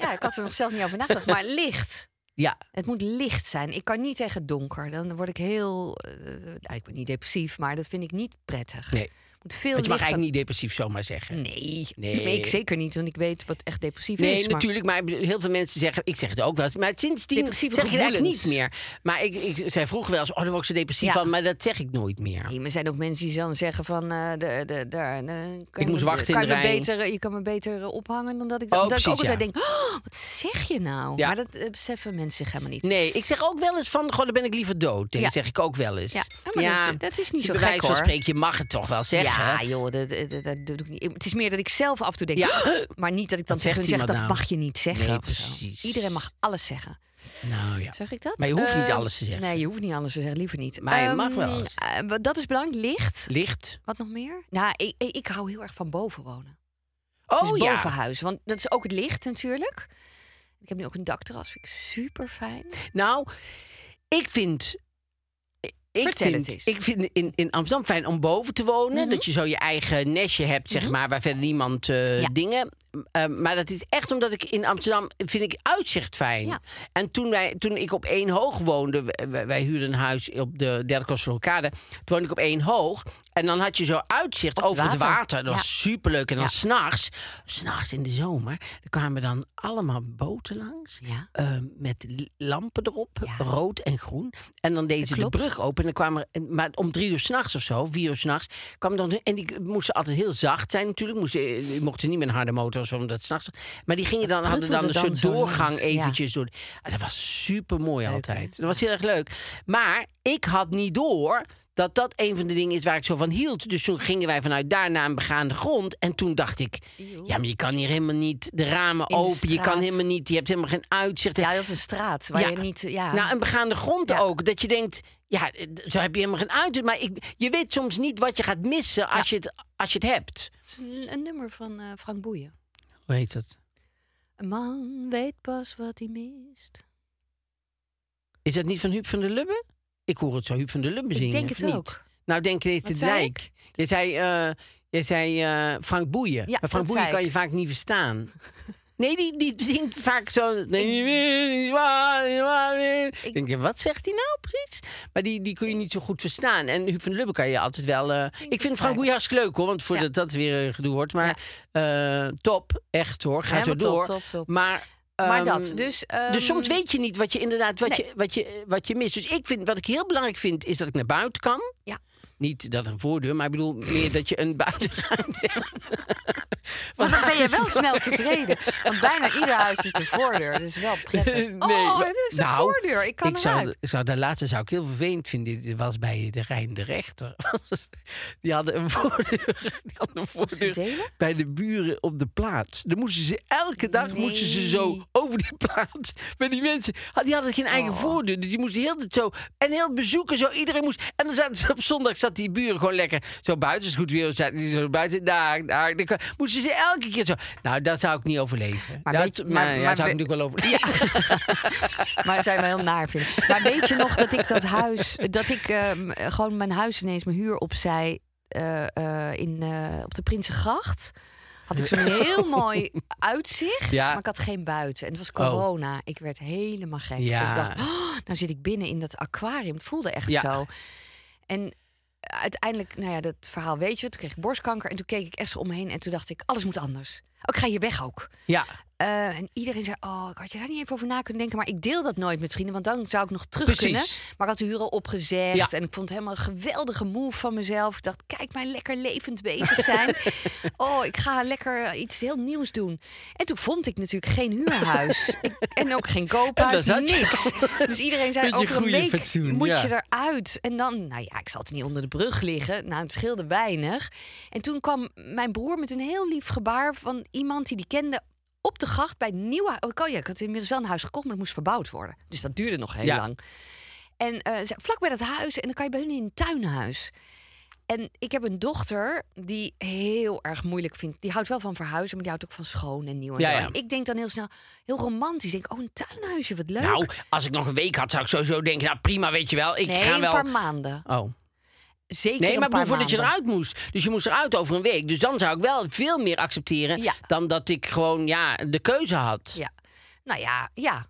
[SPEAKER 1] ja, ik had er nog zelf niet over nagedacht. Maar licht.
[SPEAKER 2] Ja.
[SPEAKER 1] Het moet licht zijn. Ik kan niet tegen donker. Dan word ik heel... eh, nou, ik ben niet depressief, maar dat vind ik niet prettig.
[SPEAKER 2] Nee.
[SPEAKER 1] Moet veel
[SPEAKER 2] Want je mag
[SPEAKER 1] licht
[SPEAKER 2] eigenlijk niet depressief zomaar zeggen.
[SPEAKER 1] aan- Nee,
[SPEAKER 2] Nee.
[SPEAKER 1] nee, ik zeker niet, want ik weet wat echt depressief
[SPEAKER 2] Nee,
[SPEAKER 1] is. maar-
[SPEAKER 2] natuurlijk, maar ik bedoel, heel veel mensen zeggen... Ik zeg het ook wel eens, maar sindsdien zeg
[SPEAKER 1] Depressieve
[SPEAKER 2] ik het eigenlijk
[SPEAKER 1] gevoelens.
[SPEAKER 2] niet meer. Maar ik, ik zei vroeger wel eens, oh, daar word ik zo depressief
[SPEAKER 1] Ja.
[SPEAKER 2] van. Maar dat zeg ik nooit meer.
[SPEAKER 1] Nee, maar er zijn ook mensen die dan zeggen van... eh, de, de, daar, eh, kan je
[SPEAKER 2] moest
[SPEAKER 1] me-
[SPEAKER 2] wachten in
[SPEAKER 1] kan
[SPEAKER 2] de
[SPEAKER 1] je me
[SPEAKER 2] rij.
[SPEAKER 1] beter, eh, Je kan me beter eh, ophangen dan dat ik...
[SPEAKER 2] Oh,
[SPEAKER 1] dat ik ook
[SPEAKER 2] precies,
[SPEAKER 1] altijd denk, "Oh, wat zeg je nou?
[SPEAKER 2] Ja.
[SPEAKER 1] Maar dat eh, beseffen mensen zich helemaal niet.
[SPEAKER 2] Nee, ik zeg ook wel eens van, goh, dan ben ik liever dood. Dat
[SPEAKER 1] Ja.
[SPEAKER 2] zeg ik ook wel eens.
[SPEAKER 1] Ja, Oh, maar dat is- dat is niet
[SPEAKER 2] je
[SPEAKER 1] zo
[SPEAKER 2] bij
[SPEAKER 1] gek,
[SPEAKER 2] wijze van
[SPEAKER 1] hoor.
[SPEAKER 2] spreken, je mag het toch wel zeggen.
[SPEAKER 1] Ja, joh, dat, eh, dat, dat- dat doe ik niet. Het is meer dat ik zelf af en toe denk... "Oh."
[SPEAKER 2] Ja.
[SPEAKER 1] Maar niet dat ik dan
[SPEAKER 2] Wat zegt
[SPEAKER 1] tegen hun zeg,
[SPEAKER 2] iemand
[SPEAKER 1] dat
[SPEAKER 2] nou?
[SPEAKER 1] mag je niet zeggen.
[SPEAKER 2] Nee,
[SPEAKER 1] of zo.
[SPEAKER 2] precies.
[SPEAKER 1] Iedereen mag alles zeggen.
[SPEAKER 2] Nou ja.
[SPEAKER 1] Zeg ik dat?
[SPEAKER 2] Maar je hoeft niet
[SPEAKER 1] Eh,
[SPEAKER 2] alles te zeggen.
[SPEAKER 1] Nee, je hoeft niet alles te zeggen. Liever niet.
[SPEAKER 2] Maar je
[SPEAKER 1] Ehm,
[SPEAKER 2] mag wel alles.
[SPEAKER 1] eh, wat- dat is belangrijk. Licht.
[SPEAKER 2] Licht.
[SPEAKER 1] Wat nog meer? Nou, ik, ik ik hou heel erg van boven wonen.
[SPEAKER 2] Oh
[SPEAKER 1] dus
[SPEAKER 2] ja.
[SPEAKER 1] bovenhuis. Want dat is ook het licht natuurlijk. Ik heb nu ook een dakterras. Vind ik super fijn.
[SPEAKER 2] Nou, ik vind. Ik
[SPEAKER 1] Vertel
[SPEAKER 2] vind,
[SPEAKER 1] het eens. Mhm.
[SPEAKER 2] ik vind in, in Amsterdam fijn om boven te wonen. Dat je zo je eigen nestje hebt, zeg maar, waar verder niemand eh,
[SPEAKER 1] Ja.
[SPEAKER 2] dingen. Eh, maar dat is echt omdat ik in Amsterdam vind ik uitzicht fijn.
[SPEAKER 1] Ja.
[SPEAKER 2] En toen, wij, toen ik op één hoog woonde, w- wij, wij huurden een huis op de derde kost van Lokade. Toen woonde ik op één hoog. En dan had je zo uitzicht
[SPEAKER 1] Op het
[SPEAKER 2] over het
[SPEAKER 1] water.
[SPEAKER 2] water. Dat was superleuk. En dan s s'nachts, s'nachts in de zomer, er kwamen dan allemaal boten langs.
[SPEAKER 1] Ja.
[SPEAKER 2] eh, met l- lampen erop,
[SPEAKER 1] Ja.
[SPEAKER 2] rood en groen. En dan deden ze de
[SPEAKER 1] klopt.
[SPEAKER 2] brug open. En dan kwamen er, maar om drie uur s'nachts of zo, vier uur s'nachts, kwam dan. En die moesten altijd heel zacht zijn, natuurlijk. Moesten, eh, die mochten niet met een harde motor of zo, omdat het s'nachts. Maar die gingen dan, hadden dan
[SPEAKER 1] pruttelde
[SPEAKER 2] een
[SPEAKER 1] dan
[SPEAKER 2] soort
[SPEAKER 1] zo
[SPEAKER 2] doorgang
[SPEAKER 1] langs.
[SPEAKER 2] eventjes door. En Ah, dat was super mooi
[SPEAKER 1] Leuk,
[SPEAKER 2] altijd.
[SPEAKER 1] hè?
[SPEAKER 2] Dat was heel erg leuk. Maar ik had niet door dat dat een van de dingen is waar ik zo van hield. Dus toen gingen wij vanuit daar naar een begaande grond. En toen dacht ik, ja, maar je kan hier helemaal niet de ramen
[SPEAKER 1] In de
[SPEAKER 2] open. je kan
[SPEAKER 1] straat.
[SPEAKER 2] helemaal niet, je hebt helemaal geen uitzicht.
[SPEAKER 1] Ja, dat is een straat waar
[SPEAKER 2] Ja.
[SPEAKER 1] je niet... Ja.
[SPEAKER 2] Nou, een begaande grond
[SPEAKER 1] Ja.
[SPEAKER 2] ook. Dat je denkt, ja, eh, d- zo heb je helemaal geen uitzicht. Maar ik, je weet soms niet wat je gaat missen als, je, het, als je het hebt.
[SPEAKER 1] Dat is een, een nummer van eh, Frank Boeien.
[SPEAKER 2] Hoe heet dat?
[SPEAKER 1] Een man weet pas wat hij mist.
[SPEAKER 2] Is dat niet van Huub van der Lubbe? Ik hoor het zo Huub van der Lubbe
[SPEAKER 1] Ik
[SPEAKER 2] zingen.
[SPEAKER 1] denk
[SPEAKER 2] of
[SPEAKER 1] het
[SPEAKER 2] niet?
[SPEAKER 1] ook.
[SPEAKER 2] Nou, denk je dit de
[SPEAKER 1] Wat zei
[SPEAKER 2] dijk. Je zei, eh, je zei eh, Frank Boeien.
[SPEAKER 1] Ja,
[SPEAKER 2] maar Frank
[SPEAKER 1] dat
[SPEAKER 2] Boeien
[SPEAKER 1] zei
[SPEAKER 2] kan
[SPEAKER 1] ik.
[SPEAKER 2] je vaak niet verstaan. Nee, die, die zingt vaak zo. Ik denk, ja, wat zegt hij nou precies? Maar die, die kun je niet zo goed verstaan. En Huub van de Lubbe kan je altijd wel. eh, ik vind Frank Boeien hartstikke leuk hoor, want voordat dat weer eh, gedoe wordt. Maar eh, top, echt hoor. Ga zo
[SPEAKER 1] Helemaal top,
[SPEAKER 2] door.
[SPEAKER 1] top, top.
[SPEAKER 2] Maar,
[SPEAKER 1] Maar
[SPEAKER 2] ehm,
[SPEAKER 1] dat, dus, ehm,
[SPEAKER 2] dus soms weet je niet wat je inderdaad wat,
[SPEAKER 1] Nee.
[SPEAKER 2] je, wat, je, wat je mist. Dus ik vind, wat ik heel belangrijk vind, is dat ik naar buiten kan.
[SPEAKER 1] Ja.
[SPEAKER 2] Niet dat er een voordeur, maar ik bedoel meer dat je een buitengaand hebt.
[SPEAKER 1] Maar dan ben je wel snel tevreden. Want bijna ieder huis heeft een voordeur. Dat is wel prettig. oh,
[SPEAKER 2] maar-
[SPEAKER 1] dit is een
[SPEAKER 2] nou,
[SPEAKER 1] voordeur. Ik kan
[SPEAKER 2] ik zou,
[SPEAKER 1] eruit.
[SPEAKER 2] zou Daar laatste zou ik heel vervelend vinden. Dit was bij de Rijn de Rechter. Die hadden een voordeur, die hadden een voordeur
[SPEAKER 1] delen?
[SPEAKER 2] bij de buren op de plaats. Dan moesten ze elke dag moesten ze zo
[SPEAKER 1] Nee.
[SPEAKER 2] over die plaats met die mensen. Ah, Die hadden geen
[SPEAKER 1] Oh.
[SPEAKER 2] eigen voordeur, dus die moesten heel de tijd zo en heel bezoeken zo. Iedereen moest en dan zaten ze op zondag zat die buren gewoon lekker zo buiten. Is goed weer zaten die zo buiten. Daar, daar, daar moesten ze elke keer zo. Nou, dat zou ik niet overleven.
[SPEAKER 1] Maar
[SPEAKER 2] dat,
[SPEAKER 1] weet je-
[SPEAKER 2] maar,
[SPEAKER 1] maar-
[SPEAKER 2] ja,
[SPEAKER 1] maar
[SPEAKER 2] zou ik
[SPEAKER 1] we-
[SPEAKER 2] natuurlijk wel overleven.
[SPEAKER 1] Maar zijn wel heel naar, vind ik. Maar weet je nog dat ik dat huis... Dat ik ehm, gewoon mijn huis ineens mijn huur opzij... eh, eh, in, eh, op de Prinsengracht... Had ik zo'n heel mooi uitzicht,
[SPEAKER 2] Ja. Oh.
[SPEAKER 1] maar ik had geen buiten. En het was corona. Ik werd helemaal gek.
[SPEAKER 2] Ja.
[SPEAKER 1] Ik dacht, oh, nou zit ik binnen in dat aquarium. Het voelde echt
[SPEAKER 2] Ja.
[SPEAKER 1] zo. En uiteindelijk, nou ja, dat verhaal weet je. wel. Toen kreeg ik borstkanker en toen keek ik echt zo om me heen. En toen dacht ik, alles moet anders. Oh, ik ga hier weg ook.
[SPEAKER 2] Ja,
[SPEAKER 1] Eh, en iedereen zei, oh, ik had je daar niet even over na kunnen denken. Maar ik deel dat nooit met vrienden, want dan zou ik nog terug
[SPEAKER 2] Precies.
[SPEAKER 1] kunnen. Maar ik had de huur al opgezegd.
[SPEAKER 2] Ja.
[SPEAKER 1] En ik vond het helemaal een geweldige move van mezelf. Ik dacht, kijk mij lekker levend bezig zijn. oh, ik ga lekker iets heel nieuws doen. En toen vond ik natuurlijk geen huurhuis. Ik- en ook geen
[SPEAKER 2] En
[SPEAKER 1] koophuis,
[SPEAKER 2] daar zat je
[SPEAKER 1] niks. Dus iedereen zei,
[SPEAKER 2] Beetje
[SPEAKER 1] over een
[SPEAKER 2] goede
[SPEAKER 1] week
[SPEAKER 2] fatsoen,
[SPEAKER 1] moet
[SPEAKER 2] ja.
[SPEAKER 1] je eruit. En dan, nou ja, ik zat niet onder de brug liggen. Nou, het scheelde weinig. En toen kwam mijn broer met een heel lief gebaar van iemand die die kende op de gracht bij het nieuwe hu- Oh, ja, ik had inmiddels wel een huis gekocht, maar het moest verbouwd worden. Dus dat duurde nog heel
[SPEAKER 2] Ja.
[SPEAKER 1] lang. En eh, ze- vlak bij dat huis, en dan kan je bij hun in een tuinhuis. En ik heb een dochter die heel erg moeilijk vindt. Die houdt wel van verhuizen, maar die houdt ook van schoon en nieuw. En
[SPEAKER 2] Ja,
[SPEAKER 1] zo.
[SPEAKER 2] ja.
[SPEAKER 1] En ik denk dan heel snel, heel romantisch. Ik denk, oh, een tuinhuisje, wat leuk.
[SPEAKER 2] nou, als ik nog een week had, zou ik sowieso denken: nou prima, weet je wel. Ik
[SPEAKER 1] nee,
[SPEAKER 2] ga
[SPEAKER 1] een
[SPEAKER 2] wel.
[SPEAKER 1] paar maanden.
[SPEAKER 2] Oh.
[SPEAKER 1] Zeker
[SPEAKER 2] Nee,
[SPEAKER 1] een
[SPEAKER 2] maar ik
[SPEAKER 1] paar
[SPEAKER 2] bedoel voordat je
[SPEAKER 1] maanden.
[SPEAKER 2] eruit moest. Dus je moest eruit over een week. Dus dan zou ik wel veel meer accepteren
[SPEAKER 1] Ja.
[SPEAKER 2] dan dat ik gewoon ja, de keuze had.
[SPEAKER 1] Ja. Nou ja, ja.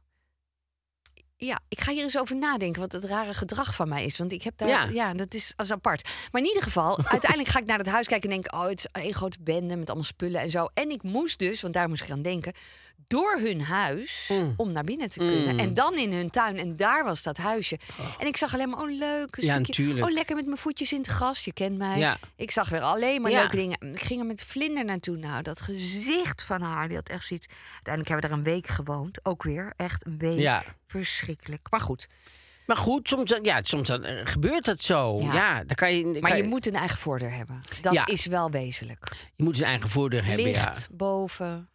[SPEAKER 1] Ja, ik ga hier eens over nadenken wat het rare gedrag van mij is. Want ik heb daar...
[SPEAKER 2] Ja.
[SPEAKER 1] Ja, dat is als apart. Maar in ieder geval, uiteindelijk ga ik naar dat huis kijken en denk... oh, het is een grote bende met allemaal spullen en zo. En ik moest dus, want daar moest ik aan denken... door hun huis
[SPEAKER 2] Mm.
[SPEAKER 1] om naar binnen te kunnen. En dan in hun tuin. En daar was dat huisje. En ik zag alleen maar, oh leuk, een
[SPEAKER 2] Ja,
[SPEAKER 1] stukje...
[SPEAKER 2] natuurlijk.
[SPEAKER 1] Oh, lekker met mijn voetjes in het gras, je kent mij.
[SPEAKER 2] Ja.
[SPEAKER 1] Ik zag weer alleen maar
[SPEAKER 2] Ja.
[SPEAKER 1] leuke dingen. Ik ging er met vlinder naartoe. Nou, dat gezicht van haar, die had echt zoiets. Uiteindelijk hebben we daar een week gewoond. Ook weer, echt een week.
[SPEAKER 2] Ja.
[SPEAKER 1] Verschrikkelijk. Maar goed,
[SPEAKER 2] Maar goed, soms, dan- ja, soms dan, eh, gebeurt dat zo. Ja,
[SPEAKER 1] Ja.
[SPEAKER 2] dan kan je, dan
[SPEAKER 1] maar
[SPEAKER 2] kan
[SPEAKER 1] je moet een eigen voordeur hebben. Dat
[SPEAKER 2] Ja.
[SPEAKER 1] is wel wezenlijk.
[SPEAKER 2] je moet een eigen voordeur hebben. Ja.
[SPEAKER 1] Licht, boven.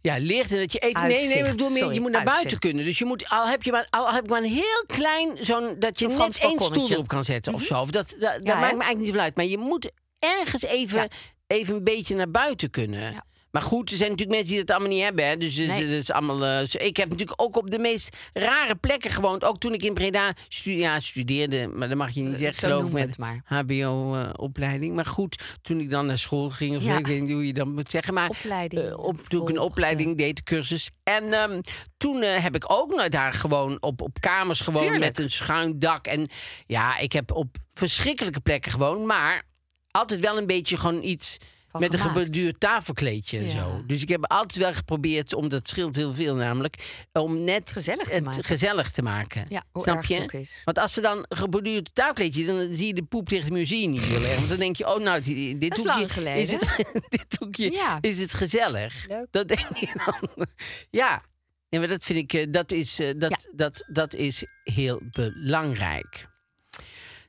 [SPEAKER 2] Ja, leert en dat je even. Nee, nee,
[SPEAKER 1] Uitzicht,
[SPEAKER 2] maar ik bedoel meer, je
[SPEAKER 1] sorry,
[SPEAKER 2] moet naar buiten
[SPEAKER 1] uitzicht.
[SPEAKER 2] kunnen. Dus je moet, al heb je maar, al heb ik maar een heel klein, zo'n, dat je
[SPEAKER 1] Zo'n
[SPEAKER 2] net
[SPEAKER 1] Frans
[SPEAKER 2] één stoel
[SPEAKER 1] balkonnetje. Mhm.
[SPEAKER 2] erop kan zetten of zo. Of dat dat, dat
[SPEAKER 1] Ja, hè?
[SPEAKER 2] maakt me eigenlijk niet veel uit. Maar je moet ergens even, even een beetje naar buiten kunnen.
[SPEAKER 1] Ja.
[SPEAKER 2] Maar goed, er zijn natuurlijk mensen die dat allemaal niet hebben. Hè? Dus het is-
[SPEAKER 1] Nee.
[SPEAKER 2] het is allemaal. eh, ik heb natuurlijk ook op de meest rare plekken gewoond. Ook toen ik in Breda stu- ja, studeerde. Maar dat mag je niet
[SPEAKER 1] Eh,
[SPEAKER 2] zeggen,
[SPEAKER 1] zo
[SPEAKER 2] geloof ik,
[SPEAKER 1] noemen we
[SPEAKER 2] met
[SPEAKER 1] het
[SPEAKER 2] HBO-opleiding. eh, maar goed, toen ik dan naar school ging, of zo,
[SPEAKER 1] Ja.
[SPEAKER 2] ik weet niet hoe je dat moet zeggen. Maar
[SPEAKER 1] Opleiding
[SPEAKER 2] eh, op, toen ik een
[SPEAKER 1] volgde.
[SPEAKER 2] opleiding deed, de cursus. En ehm, toen eh, heb ik ook nou, daar gewoon op, op kamers gewoond
[SPEAKER 1] Tuurlijk.
[SPEAKER 2] met een schuin dak. En ja, ik heb op verschrikkelijke plekken gewoond. Maar altijd wel een beetje gewoon iets
[SPEAKER 1] Van
[SPEAKER 2] met een
[SPEAKER 1] gemaakt.
[SPEAKER 2] geborduurd tafelkleedje en
[SPEAKER 1] Ja.
[SPEAKER 2] zo. Dus ik heb altijd wel geprobeerd, om dat scheelt heel veel namelijk... om net
[SPEAKER 1] gezellig te
[SPEAKER 2] het
[SPEAKER 1] maken.
[SPEAKER 2] gezellig te maken.
[SPEAKER 1] Ja, hoe
[SPEAKER 2] Snap
[SPEAKER 1] erg
[SPEAKER 2] je?
[SPEAKER 1] het ook is.
[SPEAKER 2] Want als ze dan een geborduurd tafelkleedje... dan zie je de poep tegen de museum niet willen. Want dan denk je, oh nou, dit, dit
[SPEAKER 1] Dat is
[SPEAKER 2] hoekje
[SPEAKER 1] lang geleden.
[SPEAKER 2] Is het, dit hoekje
[SPEAKER 1] Ja.
[SPEAKER 2] is het gezellig.
[SPEAKER 1] Leuk.
[SPEAKER 2] Dat denk je dan. Ja. Nee, maar dat vind ik, eh, dat is, eh, dat,
[SPEAKER 1] Ja.
[SPEAKER 2] dat, dat is heel belangrijk.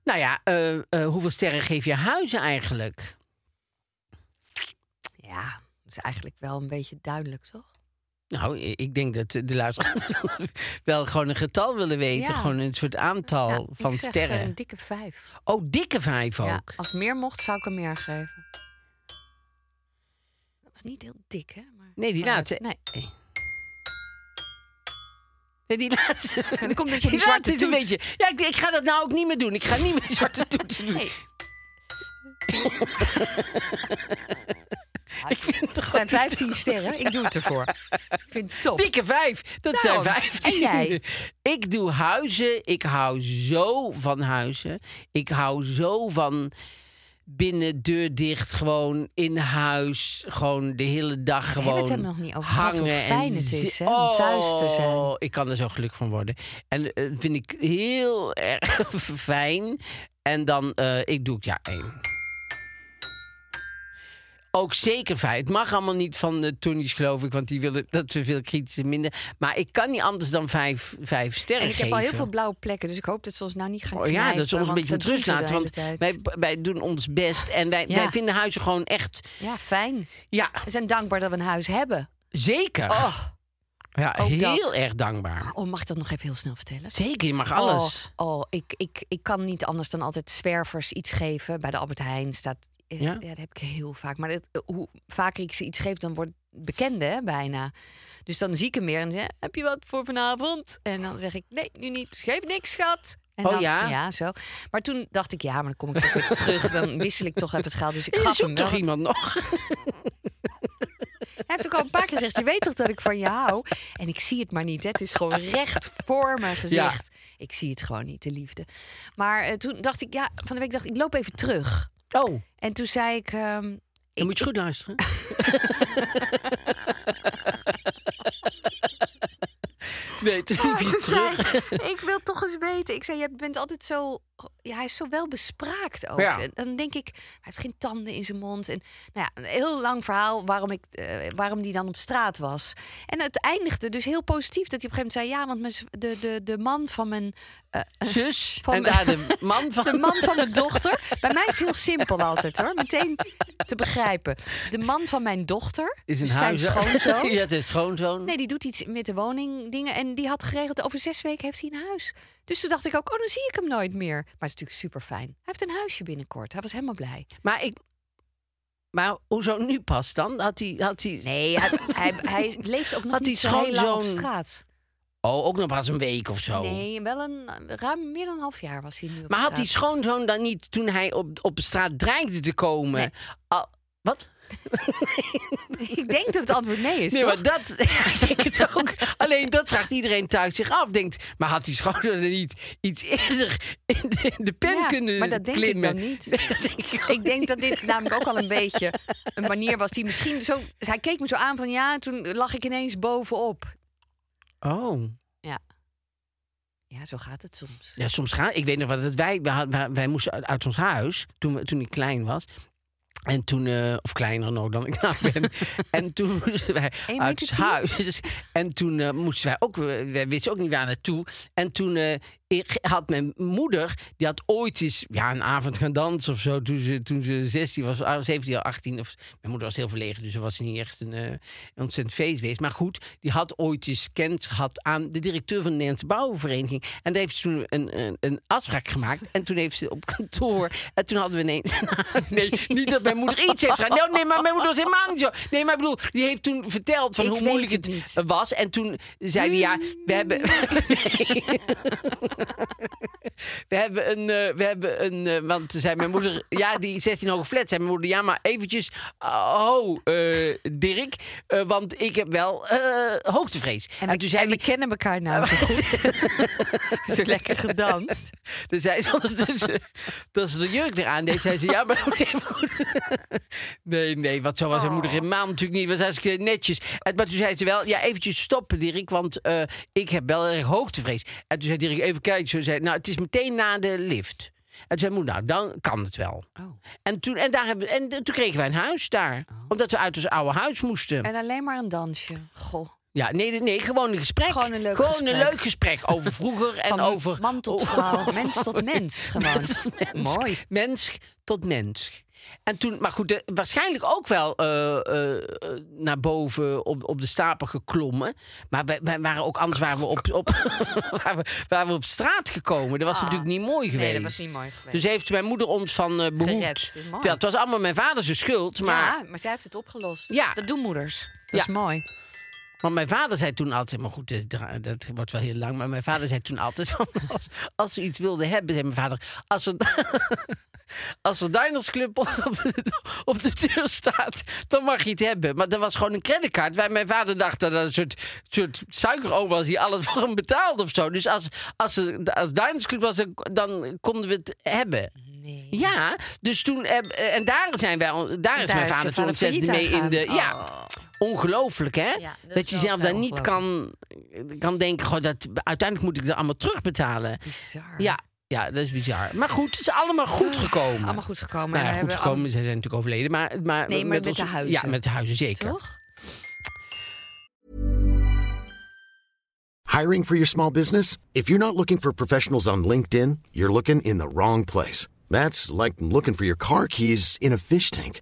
[SPEAKER 2] Nou ja, eh, eh, hoeveel sterren geef je huizen eigenlijk?
[SPEAKER 1] Ja, dat is eigenlijk wel een beetje duidelijk, toch?
[SPEAKER 2] Nou, i- ik denk dat de luisteraars wel gewoon een getal willen weten.
[SPEAKER 1] Ja.
[SPEAKER 2] Gewoon een soort aantal
[SPEAKER 1] Ja,
[SPEAKER 2] van
[SPEAKER 1] ik zeg, eh,
[SPEAKER 2] sterren.
[SPEAKER 1] Een dikke vijf.
[SPEAKER 2] Oh, dikke vijf ook.
[SPEAKER 1] Ja, als meer mocht, zou ik er meer geven. Dat was niet heel dik, hè? Maar,
[SPEAKER 2] Nee, die
[SPEAKER 1] maar
[SPEAKER 2] laatste.
[SPEAKER 1] dat- Nee.
[SPEAKER 2] Nee, die laatste.
[SPEAKER 1] dan komt dat je die
[SPEAKER 2] laatste
[SPEAKER 1] zwarte
[SPEAKER 2] is een
[SPEAKER 1] toets-
[SPEAKER 2] beetje. Ja, ik, ik ga dat nou ook niet meer doen. Ik ga niet meer die zwarte toetsen doen. Ik vind het
[SPEAKER 1] Het zijn
[SPEAKER 2] gewoon
[SPEAKER 1] 15 sterren. Ik doe het ervoor. Ik vind het top.
[SPEAKER 2] Dikke vijf. Dat
[SPEAKER 1] Daarom.
[SPEAKER 2] zijn vijftien.
[SPEAKER 1] Nou, En jij?
[SPEAKER 2] Ik doe huizen. Ik hou zo van huizen. Ik hou zo van binnen, deur dicht, gewoon in huis. Gewoon de hele dag
[SPEAKER 1] hebben
[SPEAKER 2] gewoon
[SPEAKER 1] het er nog niet over gehad,
[SPEAKER 2] hangen.
[SPEAKER 1] hoe fijn
[SPEAKER 2] en
[SPEAKER 1] het is,
[SPEAKER 2] zi-
[SPEAKER 1] hè, om thuis te zijn.
[SPEAKER 2] Oh, ik kan er zo gelukkig van worden. En eh, vind ik heel erg fijn. En dan, eh, ik doe het ja één. Ook zeker fijn. Het mag allemaal niet van de Tonys, geloof ik. Want die willen dat ze veel kritische minder. Maar ik kan niet anders dan vijf, vijf sterren
[SPEAKER 1] En ik heb
[SPEAKER 2] geven.
[SPEAKER 1] al heel veel blauwe plekken, dus ik hoop dat ze ons nou niet gaan
[SPEAKER 2] Oh
[SPEAKER 1] knijpen.
[SPEAKER 2] ja, dat ze ons een
[SPEAKER 1] want
[SPEAKER 2] beetje met
[SPEAKER 1] doen
[SPEAKER 2] rust
[SPEAKER 1] ze de
[SPEAKER 2] laten.
[SPEAKER 1] hele
[SPEAKER 2] Want
[SPEAKER 1] tijd.
[SPEAKER 2] wij, wij doen ons best. En wij,
[SPEAKER 1] Ja.
[SPEAKER 2] wij vinden huizen gewoon echt...
[SPEAKER 1] Ja, fijn.
[SPEAKER 2] Ja,
[SPEAKER 1] We zijn dankbaar dat we een huis hebben.
[SPEAKER 2] zeker.
[SPEAKER 1] Oh,
[SPEAKER 2] ja,
[SPEAKER 1] ook
[SPEAKER 2] heel
[SPEAKER 1] dat.
[SPEAKER 2] erg dankbaar.
[SPEAKER 1] oh, mag ik dat nog even heel snel vertellen?
[SPEAKER 2] Zeker, je mag alles.
[SPEAKER 1] Oh, oh, ik, ik, ik kan niet anders dan altijd zwervers iets geven. Bij de Albert Heijn staat... eh,
[SPEAKER 2] Ja?
[SPEAKER 1] Ja, dat heb ik heel vaak. Maar dat, eh, hoe vaker ik ze iets geef, dan wordt het bekende hè, bijna. Dus dan zie ik hem weer en zeg heb je wat voor vanavond? En dan zeg ik, nee, nu niet. Geef niks, schat. En
[SPEAKER 2] Oh,
[SPEAKER 1] dan-
[SPEAKER 2] ja?
[SPEAKER 1] Ja, zo. Maar toen dacht ik, ja, maar dan kom ik toch weer terug. Dan wissel ik toch even het geld. Dus ik
[SPEAKER 2] Je
[SPEAKER 1] gaf hem
[SPEAKER 2] zoekt
[SPEAKER 1] wel.
[SPEAKER 2] toch
[SPEAKER 1] wat.
[SPEAKER 2] iemand nog?
[SPEAKER 1] Hij heeft ook al een paar keer gezegd: Je weet toch dat ik van je hou? En ik zie het maar niet. Hè. Het is gewoon recht voor mijn gezicht. Ik zie het gewoon niet, de liefde. Maar eh, toen dacht ik: Ja, van de week dacht ik: Ik loop even terug.
[SPEAKER 2] Oh,
[SPEAKER 1] En toen zei ik: ehm,
[SPEAKER 2] dan
[SPEAKER 1] ik,
[SPEAKER 2] moet je goed luisteren. nee, toen liep je
[SPEAKER 1] Toen zei
[SPEAKER 2] terug.
[SPEAKER 1] ik, ik wil toch eens weten. Ik zei, je bent altijd zo... Ja, hij is zo welbespraakt ook.
[SPEAKER 2] Ja.
[SPEAKER 1] En Dan denk ik, hij heeft geen tanden in zijn mond. En nou ja, een heel lang verhaal waarom, ik, eh, waarom die dan op straat was. En het eindigde dus heel positief dat hij op een gegeven moment zei... ja, want mijn, z- de, de, de man van mijn... eh,
[SPEAKER 2] Zus
[SPEAKER 1] Van
[SPEAKER 2] en
[SPEAKER 1] de-
[SPEAKER 2] daar de man van...
[SPEAKER 1] de man van mijn dochter. Bij mij is het heel simpel altijd hoor. Meteen te begrijpen. De man van mijn dochter.
[SPEAKER 2] is een
[SPEAKER 1] dus zijn
[SPEAKER 2] huis.
[SPEAKER 1] schoonzoon.
[SPEAKER 2] ja, het is schoonzoon.
[SPEAKER 1] Nee, die doet iets met de woningdingen. En die had geregeld, over zes weken heeft hij een huis. Dus toen dacht ik ook, oh, dan zie ik hem nooit meer. Maar het is natuurlijk super fijn. Hij heeft een huisje binnenkort. Hij was helemaal blij.
[SPEAKER 2] Maar ik... Maar hoezo nu pas dan? Had hij... Had hij...
[SPEAKER 1] Nee, hij, hij, hij leeft ook nog
[SPEAKER 2] Had
[SPEAKER 1] niet
[SPEAKER 2] hij
[SPEAKER 1] zo heel lang op
[SPEAKER 2] schoonzoon-
[SPEAKER 1] straat.
[SPEAKER 2] Oh, ook nog pas een week of zo.
[SPEAKER 1] Nee, wel een ruim meer dan een half jaar was hij nu op
[SPEAKER 2] Maar had die
[SPEAKER 1] straat.
[SPEAKER 2] schoonzoon dan niet, toen hij op, op de straat dreigde te komen...
[SPEAKER 1] Nee.
[SPEAKER 2] al- wat?
[SPEAKER 1] Ik denk dat het antwoord nee is,
[SPEAKER 2] nee,
[SPEAKER 1] toch?
[SPEAKER 2] maar dat... Ja, ik denk het ook. Alleen dat vraagt iedereen thuis zich af. Denkt, maar had die schoonzoon er niet iets eerder in de, in de pen
[SPEAKER 1] Ja,
[SPEAKER 2] kunnen
[SPEAKER 1] maar dat denk ik
[SPEAKER 2] klimmen?
[SPEAKER 1] dan niet.
[SPEAKER 2] Nee, dat denk ik ook
[SPEAKER 1] Ik denk dat dit namelijk ook al een beetje een manier was die misschien zo... Hij keek me zo aan van ja, en toen lag ik ineens bovenop.
[SPEAKER 2] Oh,
[SPEAKER 1] Ja. Ja, zo gaat het soms.
[SPEAKER 2] ja, soms gaan. Ik weet nog wat dat wij, wij, had- wij, wij moesten uit, uit ons huis toen, we- toen ik klein was. En toen, eh, of kleiner nog dan ik nou ben. en toen moesten wij
[SPEAKER 1] meter
[SPEAKER 2] uit ons
[SPEAKER 1] tien?
[SPEAKER 2] huis. En toen eh, moesten wij ook, eh, wij wisten ook niet waar naartoe. En toen eh, ik- had mijn moeder, die had ooit eens ja, een avond gaan dansen of zo. Toen ze, toen ze 16 was, ah, 17 of 18. Of, mijn moeder was heel verlegen, dus ze was niet echt een eh, ontzettend feestbeest. Maar goed, die had ooit eens kennis gehad aan de directeur van de Nederlandse Bouwvereniging. En daar heeft ze toen een, een, een afspraak gemaakt. En toen heeft ze op kantoor. En toen hadden we ineens. nee, niet dat mijn moeder iets heeft gedaan. Nou, Nee, nee, maar mijn moeder was helemaal niet zo. Nee, maar ik bedoel, die heeft toen verteld van
[SPEAKER 1] Ik
[SPEAKER 2] hoe
[SPEAKER 1] weet
[SPEAKER 2] moeilijk het,
[SPEAKER 1] het niet. Hmm.
[SPEAKER 2] was. En toen zei hij, ja, we hebben. Nee. We hebben een, eh, we hebben een eh, want zei mijn moeder, ja, die 16 hoge flat, zei mijn moeder, ja, maar eventjes, oh, ho, eh, Dirk, eh, want ik heb wel eh, hoogtevrees. En,
[SPEAKER 1] En, we,
[SPEAKER 2] toen zei
[SPEAKER 1] en we
[SPEAKER 2] die-
[SPEAKER 1] kennen elkaar nou zo goed. zo lekker gedanst.
[SPEAKER 2] toen zei ze, dat ze, dat ze de jurk weer aandeed, zei ze, ja, maar doe even goed. nee, nee, wat zo was mijn
[SPEAKER 1] Oh.
[SPEAKER 2] moeder helemaal natuurlijk niet, was hartstikke netjes. En, maar toen zei ze wel, ja, eventjes stoppen, Dirk, want eh, ik heb wel erg hoogtevrees. En toen zei Dirk, even kijken, zo zei, nou, het is meteen na de lift. En toen zei moeder, nou, dan kan het wel.
[SPEAKER 1] Oh.
[SPEAKER 2] En, toen, en, daar hebben, en toen kregen wij een huis daar. Omdat we uit ons oude huis moesten.
[SPEAKER 1] En alleen maar een dansje. Goh.
[SPEAKER 2] Ja, nee, nee, gewoon een gesprek.
[SPEAKER 1] Gewoon een leuk
[SPEAKER 2] Een
[SPEAKER 1] gesprek.
[SPEAKER 2] leuk gesprek over vroeger en
[SPEAKER 1] Van
[SPEAKER 2] over...
[SPEAKER 1] man tot vrouw, mens tot mens. Gewoon. Mooi.
[SPEAKER 2] Mens tot mens. En toen, maar goed, de- waarschijnlijk ook wel eh, eh, eh, naar boven op, op de stapel geklommen. Maar wij, wij waren ook, anders waren we op, op, waren we, waren we op straat gekomen. Dat was natuurlijk niet mooi geweest.
[SPEAKER 1] Ah. dat was niet mooi geweest.
[SPEAKER 2] Dus heeft mijn moeder ons van eh behoed.
[SPEAKER 1] Gered. Mooi.
[SPEAKER 2] Ja, het was allemaal mijn vader zijn schuld. Maar
[SPEAKER 1] ja, maar zij heeft het opgelost.
[SPEAKER 2] Ja.
[SPEAKER 1] Dat doen moeders. Dat
[SPEAKER 2] Ja.
[SPEAKER 1] is mooi.
[SPEAKER 2] Want mijn vader zei toen altijd, maar goed, dit dra- dat wordt wel heel lang. Maar mijn vader zei toen altijd, van, als, als we iets wilden hebben, zei mijn vader, als er, als er Diners Club op de, op de deur staat, dan mag je het hebben. Maar dat was gewoon een creditcard. Waar mijn vader dacht dat dat een soort, soort suikeroom was die alles voor hem betaalde of zo. Dus als, als, er, als Diners Club was, dan, dan konden we het hebben.
[SPEAKER 1] Mhm.
[SPEAKER 2] Ja, dus toen, heb- en daar zijn wij, daar, is
[SPEAKER 1] is
[SPEAKER 2] mijn
[SPEAKER 1] je
[SPEAKER 2] vader toen
[SPEAKER 1] vader
[SPEAKER 2] ontzettend mee
[SPEAKER 1] failliet
[SPEAKER 2] in de.
[SPEAKER 1] aangegaan. Oh.
[SPEAKER 2] Ja, Ongelooflijk, hè?
[SPEAKER 1] Ja, dat
[SPEAKER 2] dat,
[SPEAKER 1] is
[SPEAKER 2] je
[SPEAKER 1] wel
[SPEAKER 2] zelf
[SPEAKER 1] vrij
[SPEAKER 2] daar niet kan, kan denken... Goh, dat, uiteindelijk moet ik dat allemaal terugbetalen.
[SPEAKER 1] Bizar.
[SPEAKER 2] Ja, ja, dat is bizar. Maar goed, het is allemaal goed gekomen.
[SPEAKER 1] Ah, Allemaal goed gekomen.
[SPEAKER 2] Nou
[SPEAKER 1] En
[SPEAKER 2] ja, goed
[SPEAKER 1] we hebben
[SPEAKER 2] gekomen, zij zijn natuurlijk overleden. Maar, maar,
[SPEAKER 1] Nee, maar met de huizen.
[SPEAKER 2] Ja, met de huizen zeker. Nou,
[SPEAKER 1] allemaal- Toch?
[SPEAKER 3] Hiring for your small business? If you're not looking for professionals on LinkedIn, you're looking in the wrong place. That's like looking for your car keys in a fish tank.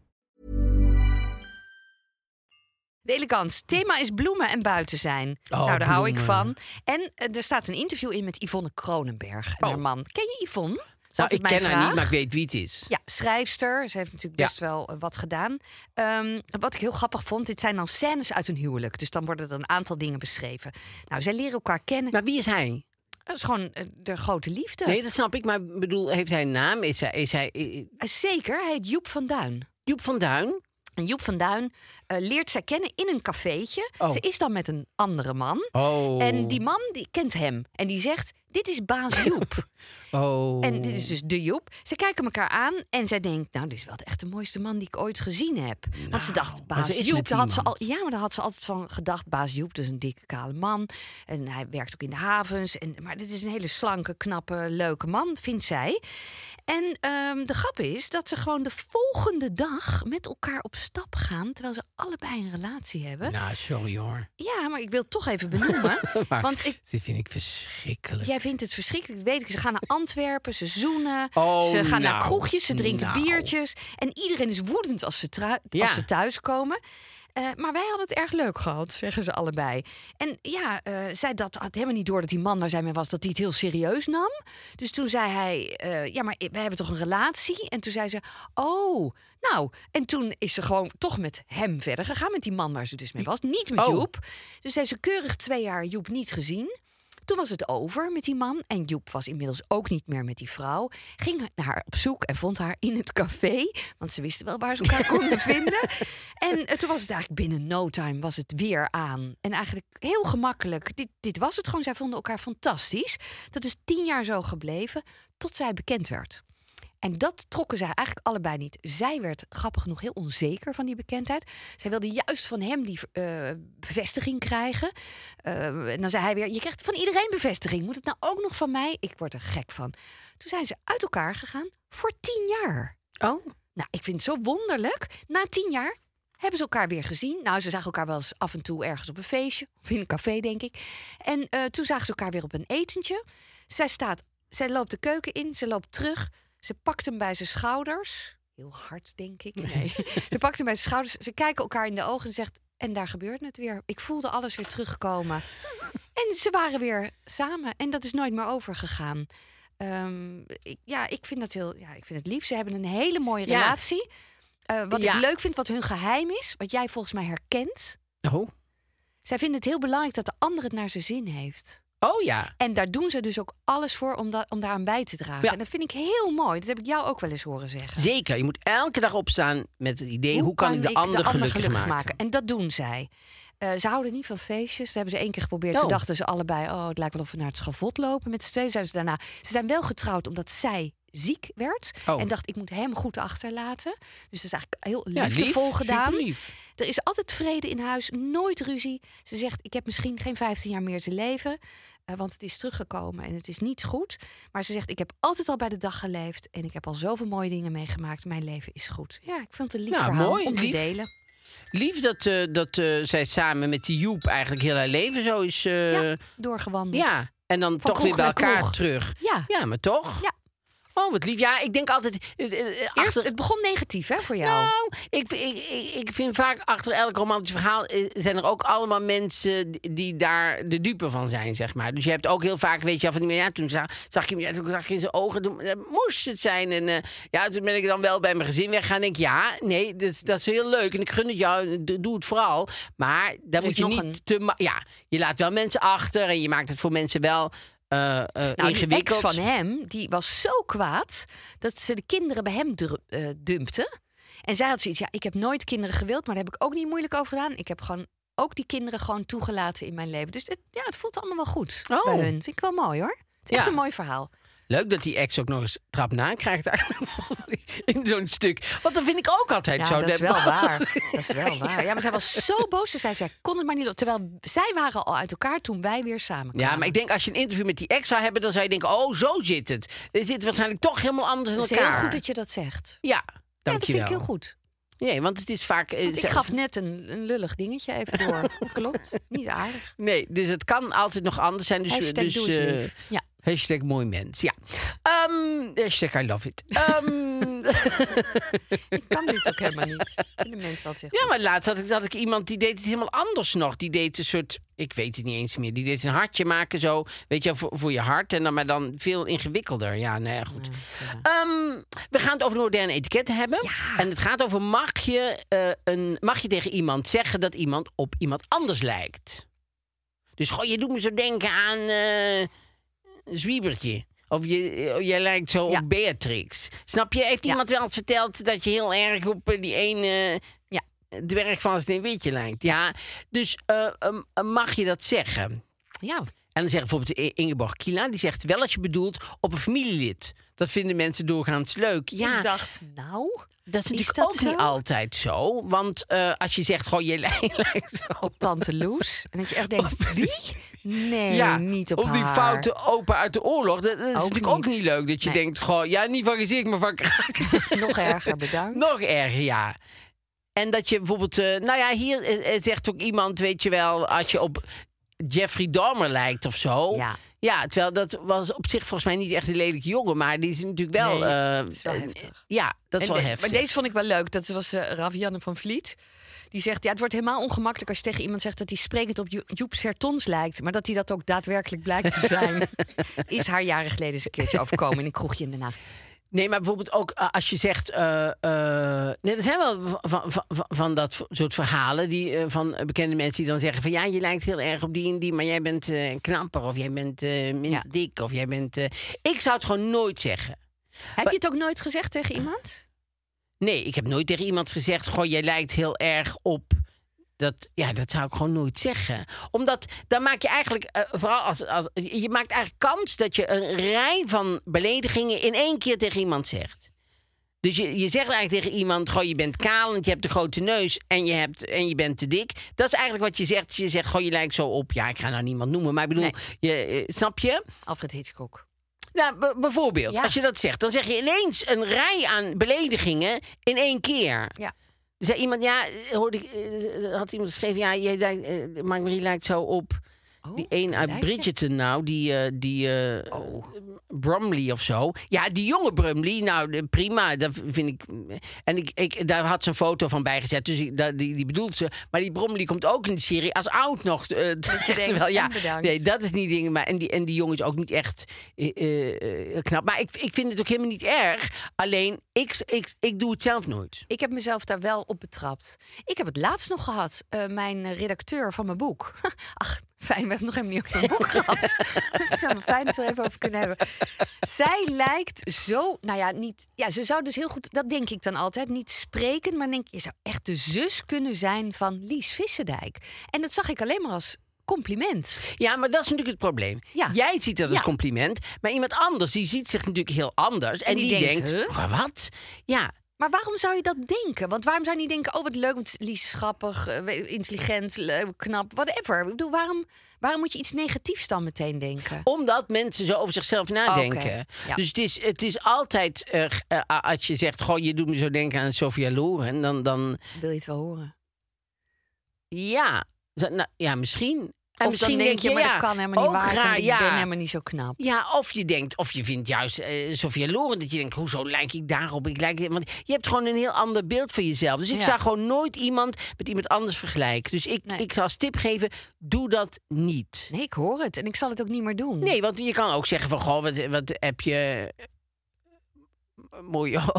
[SPEAKER 1] De elegant. Thema is bloemen en buiten zijn.
[SPEAKER 2] Oh,
[SPEAKER 1] nou, daar hou ik van. En eh, er staat een interview in met Yvonne Kronenberg en haar man. Ken je Yvonne? Dat is
[SPEAKER 2] Oh. Nou,
[SPEAKER 1] altijd
[SPEAKER 2] ik
[SPEAKER 1] mijn
[SPEAKER 2] ken haar niet,
[SPEAKER 1] vraag.
[SPEAKER 2] maar ik weet wie het is.
[SPEAKER 1] Ja, schrijfster. Ze heeft natuurlijk
[SPEAKER 2] Ja.
[SPEAKER 1] best wel eh, wat gedaan. Ehm, wat ik heel grappig vond, dit zijn dan scènes uit een huwelijk. Dus dan worden er een aantal dingen beschreven. Nou, zij leren elkaar kennen.
[SPEAKER 2] Maar wie is hij?
[SPEAKER 1] Dat is gewoon eh, de grote liefde.
[SPEAKER 2] Nee, dat snap ik. Maar ik bedoel, heeft hij een naam? Is hij... Is hij eh,
[SPEAKER 1] Eh, Zeker, hij heet Joep van Duin.
[SPEAKER 2] Joep van Duin?
[SPEAKER 1] En Joep van Duin eh, leert zij kennen in een cafeetje.
[SPEAKER 2] Oh.
[SPEAKER 1] Ze is dan met een andere man.
[SPEAKER 2] Oh.
[SPEAKER 1] En die man die kent hem. En die zegt, dit is baas Joep.
[SPEAKER 2] Oh.
[SPEAKER 1] En dit is dus de Joep. Ze kijken elkaar aan en zij denkt... nou, dit is wel echt de mooiste man die ik ooit gezien heb. Want ze dacht, baas
[SPEAKER 2] Nou, ze is met die
[SPEAKER 1] Joep... Daar had ze
[SPEAKER 2] man.
[SPEAKER 1] al, ja, maar daar had ze altijd van gedacht... baas Joep, dat is een dikke, kale man. En hij werkt ook in de havens. En, maar dit is een hele slanke, knappe, leuke man, vindt zij. En ehm, de grap is dat ze gewoon de volgende dag... met elkaar op stap gaan... terwijl ze allebei een relatie hebben.
[SPEAKER 2] Nou, sorry hoor.
[SPEAKER 1] Ja, maar ik wil het toch even benoemen.
[SPEAKER 2] Maar
[SPEAKER 1] want ik,
[SPEAKER 2] Dit vind ik verschrikkelijk.
[SPEAKER 1] Jij vindt het verschrikkelijk, dat weet ik. Ze gaan naar Antwerpen, ze zoenen,
[SPEAKER 2] Oh,
[SPEAKER 1] ze gaan naar
[SPEAKER 2] nou,
[SPEAKER 1] kroegjes, ze drinken
[SPEAKER 2] nou.
[SPEAKER 1] biertjes. En iedereen is woedend als ze, trui-
[SPEAKER 2] Ja.
[SPEAKER 1] als ze thuiskomen. Eh, maar wij hadden het erg leuk gehad, zeggen ze allebei. En ja, eh, zij dat had helemaal niet door dat die man waar zij mee was, dat hij het heel serieus nam. Dus toen zei hij, eh, ja, maar wij hebben toch een relatie? En toen zei ze, oh, nou. En toen is ze gewoon toch met hem verder gegaan, met die man waar ze dus mee was. Niet met
[SPEAKER 2] Oh.
[SPEAKER 1] Joep. Dus heeft ze keurig twee jaar Joep niet gezien. Toen was het over met die man en Joep was inmiddels ook niet meer met die vrouw. Ging naar haar op zoek en vond haar in het café, want ze wisten wel waar ze elkaar konden vinden. En eh, toen was het eigenlijk binnen no time was het weer aan. En eigenlijk heel gemakkelijk, dit, dit was het gewoon, zij vonden elkaar fantastisch. Dat is tien jaar zo gebleven, tot zij bekend werd. En dat trokken zij eigenlijk allebei niet. Zij werd grappig genoeg heel onzeker van die bekendheid. Zij wilde juist van hem die eh, bevestiging krijgen. Eh, en dan zei hij weer: Je krijgt van iedereen bevestiging. Moet het nou ook nog van mij? Ik word er gek van. Toen zijn ze uit elkaar gegaan voor tien jaar.
[SPEAKER 2] Oh.
[SPEAKER 1] Nou, ik vind het zo wonderlijk. Na tien jaar hebben ze elkaar weer gezien. Nou, ze zagen elkaar wel eens af en toe ergens op een feestje. Of in een café, denk ik. En eh, toen zagen ze elkaar weer op een etentje. Zij staat, zij loopt de keuken in, ze loopt terug. Ze pakt hem bij zijn schouders. Heel hard, denk ik. Nee. ze pakt hem bij zijn schouders. Ze kijken elkaar in de ogen en zegt... En daar gebeurt het weer. Ik voelde alles weer terugkomen. en ze waren weer samen. En dat is nooit meer overgegaan. Ehm, ik, ja, ik vind dat heel... Ja, ik vind het lief. Ze hebben een hele mooie
[SPEAKER 2] Ja.
[SPEAKER 1] relatie. Eh, wat
[SPEAKER 2] Ja.
[SPEAKER 1] ik leuk vind, wat hun geheim is, wat jij volgens mij herkent.
[SPEAKER 2] Oh.
[SPEAKER 1] Zij vinden het heel belangrijk dat de ander het naar zijn zin heeft.
[SPEAKER 2] Oh ja.
[SPEAKER 1] En daar doen ze dus ook alles voor om, da- om daaraan bij te dragen.
[SPEAKER 2] Ja.
[SPEAKER 1] En dat vind ik heel mooi. Dat heb ik jou ook wel eens horen zeggen.
[SPEAKER 2] Zeker. Je moet elke dag opstaan met het idee: hoe, kan, ik de ander gelukkig, maken?
[SPEAKER 1] En dat doen zij. Eh, ze houden niet van feestjes. Dat hebben ze één keer geprobeerd.
[SPEAKER 2] Oh.
[SPEAKER 1] Toen dachten ze allebei, oh, het lijkt wel of we naar het schavot lopen. Met z'n tweeën zijn ze daarna... Ze zijn wel getrouwd omdat zij ziek werd.
[SPEAKER 2] Oh.
[SPEAKER 1] En dacht, ik moet hem goed achterlaten. Dus dat is eigenlijk heel
[SPEAKER 2] Ja, lief,
[SPEAKER 1] liefdevol gedaan.
[SPEAKER 2] superlief.
[SPEAKER 1] Er is altijd vrede in huis, nooit ruzie. Ze zegt, ik heb misschien geen 15 jaar meer te leven... eh, want het is teruggekomen en het is niet goed. Maar ze zegt, ik heb altijd al bij de dag geleefd... en ik heb al zoveel mooie dingen meegemaakt. Mijn leven is goed. Ja, ik vond het een lief
[SPEAKER 2] Nou,
[SPEAKER 1] verhaal
[SPEAKER 2] mooi,
[SPEAKER 1] om te
[SPEAKER 2] lief.
[SPEAKER 1] delen.
[SPEAKER 2] Lief dat, eh, dat eh, zij samen met die Joep eigenlijk heel haar leven zo is. eh,
[SPEAKER 1] ja,
[SPEAKER 2] ja.
[SPEAKER 1] doorgewandeld.
[SPEAKER 2] En dan
[SPEAKER 1] Van
[SPEAKER 2] toch weer
[SPEAKER 1] kroeg
[SPEAKER 2] bij
[SPEAKER 1] naar
[SPEAKER 2] elkaar
[SPEAKER 1] kroeg.
[SPEAKER 2] terug.
[SPEAKER 1] Ja.
[SPEAKER 2] maar toch?
[SPEAKER 1] Ja.
[SPEAKER 2] Oh, wat lief. Ja, ik denk altijd... eh, eh,
[SPEAKER 1] Eerst,
[SPEAKER 2] achter-
[SPEAKER 1] het begon negatief hè, voor jou.
[SPEAKER 2] Nou, ik, ik, ik, ik vind vaak achter elk romantisch verhaal eh, zijn er ook allemaal mensen die daar de dupe van zijn, zeg maar. Dus je hebt ook heel vaak, weet je, wel, van die ja, toen zag, zag ik hem, ja, toen zag ik in zijn ogen, toen, eh, moest het zijn. En eh, ja, toen ben ik dan wel bij mijn gezin weggaan en denk ik, ja, nee, dat, is- dat is heel leuk en ik gun het jou, d- doe het vooral. Maar daar moet
[SPEAKER 1] is
[SPEAKER 2] je
[SPEAKER 1] nog
[SPEAKER 2] niet
[SPEAKER 1] een-
[SPEAKER 2] te, ma- ja, je laat wel mensen achter en je maakt het voor mensen wel eh eh,
[SPEAKER 1] Nou, die ex
[SPEAKER 2] ingewikkeld.
[SPEAKER 1] van hem, die was zo kwaad dat ze de kinderen bij hem dru- eh, dumpte. En zij had zoiets, ja, ik heb nooit kinderen gewild, maar daar heb ik ook niet moeilijk over gedaan. Ik heb gewoon ook die kinderen gewoon toegelaten in mijn leven. Dus het, ja, het voelt allemaal wel goed
[SPEAKER 2] Oh.
[SPEAKER 1] bij hun. Vind ik wel mooi hoor. Het is echt
[SPEAKER 2] Ja.
[SPEAKER 1] een mooi verhaal.
[SPEAKER 2] Leuk dat die ex ook nog eens trap na krijgt eigenlijk in zo'n stuk. Want dat vind ik ook altijd
[SPEAKER 1] Ja,
[SPEAKER 2] zo.
[SPEAKER 1] dat is wel
[SPEAKER 2] Dat-
[SPEAKER 1] waar. Dat is wel waar. Ja, maar zij was zo boos. Ze zei, zij kon het maar niet. doen. Terwijl zij waren al uit elkaar toen wij weer samen kwamen.
[SPEAKER 2] Ja, maar ik denk als je een interview met die ex zou hebben, dan zou je denken: oh, zo zit het. Het zit waarschijnlijk toch helemaal anders in
[SPEAKER 1] Het is
[SPEAKER 2] elkaar.
[SPEAKER 1] heel goed dat je dat zegt.
[SPEAKER 2] Ja,
[SPEAKER 1] Ja, dat
[SPEAKER 2] dankjewel.
[SPEAKER 1] vind ik heel goed.
[SPEAKER 2] Nee, want het is vaak. eh,
[SPEAKER 1] Want ik
[SPEAKER 2] ze-
[SPEAKER 1] gaf net een, een lullig dingetje even door. Klopt. Niet aardig.
[SPEAKER 2] Nee, dus het kan altijd nog anders zijn. Dus,
[SPEAKER 1] Hashtag
[SPEAKER 2] dus,
[SPEAKER 1] doe eens
[SPEAKER 2] eh,
[SPEAKER 1] lief. Ja.
[SPEAKER 2] Hashtag mooi mens, ja. Ehm, hashtag I love it. Ehm,
[SPEAKER 1] Ik kan dit ook helemaal niet. De mensen had zich.
[SPEAKER 2] Ja, maar laatst had ik, had ik iemand die deed het helemaal anders nog. Die deed een soort, ik weet het niet eens meer. Die deed een hartje maken zo, weet je, wel, voor, voor je hart. En dan maar dan veel ingewikkelder. Ja, nou ja, goed. Ehm, we gaan het over de moderne etiketten hebben. En het gaat over mag je, eh, een, mag je tegen iemand zeggen dat iemand op iemand anders lijkt? Dus goh, je doet me zo denken aan eh, een zwiebertje. Of je, eh, jij lijkt zo
[SPEAKER 1] Ja.
[SPEAKER 2] op Beatrix. Snap je? Heeft iemand wel eens verteld dat je heel erg op eh, die ene
[SPEAKER 1] Ja.
[SPEAKER 2] dwerg van Sneeuwwitje lijkt? Ja, dus eh, ehm, eh, mag je dat zeggen?
[SPEAKER 1] ja.
[SPEAKER 2] En dan zegt bijvoorbeeld I- Ingeborg Kila, die zegt wel als je bedoelt op een familielid. Dat vinden mensen doorgaans leuk. Ja,
[SPEAKER 1] Ik dacht, nou,
[SPEAKER 2] dat is natuurlijk
[SPEAKER 1] dat
[SPEAKER 2] ook
[SPEAKER 1] zo?
[SPEAKER 2] niet altijd zo. Want eh, als je zegt, goh, je lij- lijkt zo
[SPEAKER 1] op Tante Loes. En dat je echt denkt, wie? Nee, niet op,
[SPEAKER 2] op die
[SPEAKER 1] haar.
[SPEAKER 2] foute opa uit de oorlog. Dat, dat is
[SPEAKER 1] Ook
[SPEAKER 2] natuurlijk ook
[SPEAKER 1] niet.
[SPEAKER 2] niet leuk. Dat je
[SPEAKER 1] Nee.
[SPEAKER 2] denkt, goh, ja, niet van gezicht, maar van kraak.
[SPEAKER 1] Nog erger, bedankt.
[SPEAKER 2] Nog erger, ja. En dat je bijvoorbeeld, eh, nou ja, hier eh, eh, zegt ook iemand, weet je wel, als je op Jeffrey Dahmer lijkt of zo.
[SPEAKER 1] Ja.
[SPEAKER 2] Ja, terwijl dat was op zich volgens mij niet echt een lelijke jongen, maar die is natuurlijk wel.
[SPEAKER 1] Nee,
[SPEAKER 2] eh,
[SPEAKER 1] het is wel
[SPEAKER 2] eh,
[SPEAKER 1] heftig.
[SPEAKER 2] Ja, dat is
[SPEAKER 1] En
[SPEAKER 2] wel
[SPEAKER 1] de-
[SPEAKER 2] heftig.
[SPEAKER 1] Maar deze vond ik wel leuk. Dat was eh, Ravianne van Vliet. Die zegt, ja, het wordt helemaal ongemakkelijk als je tegen iemand zegt... dat hij sprekend op Jo- Joep Sertons lijkt. Maar dat hij dat ook daadwerkelijk blijkt te zijn. is haar jaren geleden eens een keertje overkomen in een kroegje in Den Haag.
[SPEAKER 2] Nee, maar bijvoorbeeld ook eh, als je zegt. eh, eh, nee, er zijn wel van, van, van, van dat v- soort verhalen die, eh, van bekende mensen die dan zeggen: van ja, je lijkt heel erg op die en die, maar jij bent eh, knapper of jij bent eh, minder
[SPEAKER 1] Ja.
[SPEAKER 2] dik of jij bent. eh, ik zou het gewoon nooit zeggen.
[SPEAKER 1] Heb je het ook nooit gezegd tegen iemand?
[SPEAKER 2] Nee, ik heb nooit tegen iemand gezegd: Goh, jij lijkt heel erg op. Dat, ja, dat zou ik gewoon nooit zeggen. Omdat dan maak je eigenlijk, eh, vooral als, als je maakt eigenlijk kans dat je een rij van beledigingen in één keer tegen iemand zegt. Dus je, je zegt eigenlijk tegen iemand: Goh, je bent kalend, je hebt een grote neus en je, hebt, en je bent te dik. Dat is eigenlijk wat je zegt. Je zegt: Goh, je lijkt zo op. Ja, ik ga nou niemand noemen, maar ik bedoel, je, eh, snap je?
[SPEAKER 1] Alfred Hitchcock.
[SPEAKER 2] Nou, b- bijvoorbeeld,
[SPEAKER 1] Ja.
[SPEAKER 2] als je dat zegt, dan zeg je ineens een rij aan beledigingen in één keer.
[SPEAKER 1] Ja.
[SPEAKER 2] Zei iemand, ja, eh, hoorde ik, eh, had iemand geschreven, ja, jij lijkt, eh, Mark-Marie lijkt zo op
[SPEAKER 1] Oh,
[SPEAKER 2] die een uit
[SPEAKER 1] lijkt Oh. je?
[SPEAKER 2] Bridgerton nou, die, eh, die eh, Brumley of zo. Ja, die jonge Brumley, nou de- prima, dat vind ik. eh, En ik, ik, daar had ze een foto van bijgezet, dus ik, daar- die, die bedoelt ze. Maar die Brumley komt ook in de serie als oud nog. eh, terecht,
[SPEAKER 1] denkt,
[SPEAKER 2] terwijl, ja,
[SPEAKER 1] en bedankt.
[SPEAKER 2] nee, dat is niet dingen. Maar, en, die, en die jongen is ook niet echt eh, eh, eh, knap. Maar ik, ik vind het ook helemaal niet erg. Alleen, ik, ik, ik doe het zelf nooit.
[SPEAKER 1] Ik heb mezelf daar wel op betrapt. Ik heb het laatst nog gehad. eh, mijn eh, redacteur van mijn boek. Ach, fijn, we hebben nog helemaal niet over mijn boek gehad. Ik zou het fijn dat we er even over kunnen hebben. Zij lijkt zo, nou ja, niet... Ja, ze zou dus heel goed, dat denk ik dan altijd, niet spreken. Maar denk, je zou echt de zus kunnen zijn van Lies Vissendijk. En dat zag ik alleen maar als compliment.
[SPEAKER 2] Ja, maar dat is natuurlijk het probleem.
[SPEAKER 1] Ja.
[SPEAKER 2] Jij ziet dat als
[SPEAKER 1] Ja.
[SPEAKER 2] compliment, maar iemand anders die ziet zich natuurlijk heel anders. En,
[SPEAKER 1] die
[SPEAKER 2] die,
[SPEAKER 1] denkt,
[SPEAKER 2] denkt,
[SPEAKER 1] huh?
[SPEAKER 2] "Maar wat? Ja,
[SPEAKER 1] Maar waarom zou je dat denken? Want waarom zou je niet denken, oh wat leuk, want Lies is grappig, eh, we- intelligent, leuk, knap, whatever. Ik bedoel, waarom, waarom moet je iets negatiefs dan meteen denken?
[SPEAKER 2] omdat mensen zo over zichzelf nadenken.
[SPEAKER 1] Oké, ja.
[SPEAKER 2] Dus het is, het is altijd, eh, g- eh, als je zegt, goh, je doet me zo denken aan Sophia Loren, dan, dan
[SPEAKER 1] Wil je het wel horen?
[SPEAKER 2] ja, Zo, nou, ja, misschien. En
[SPEAKER 1] of dan denk je, maar dat kan helemaal niet
[SPEAKER 2] ook
[SPEAKER 1] waar zijn.
[SPEAKER 2] raar,
[SPEAKER 1] want
[SPEAKER 2] ja.
[SPEAKER 1] Ik ben helemaal niet zo knap.
[SPEAKER 2] Ja, of je denkt, of je vindt juist eh Sofia Loren dat je denkt, hoezo lijk ik daarop? Ik lijk, want je hebt gewoon een heel ander beeld van jezelf. Dus ik
[SPEAKER 1] Ja.
[SPEAKER 2] zou gewoon nooit iemand met iemand anders vergelijken. Dus ik,
[SPEAKER 1] Nee.
[SPEAKER 2] ik zou als tip geven, doe dat niet.
[SPEAKER 1] Nee, ik hoor het. En ik zal het ook niet meer doen.
[SPEAKER 2] Nee, want je kan ook zeggen van, goh, wat, wat heb je eh, mooie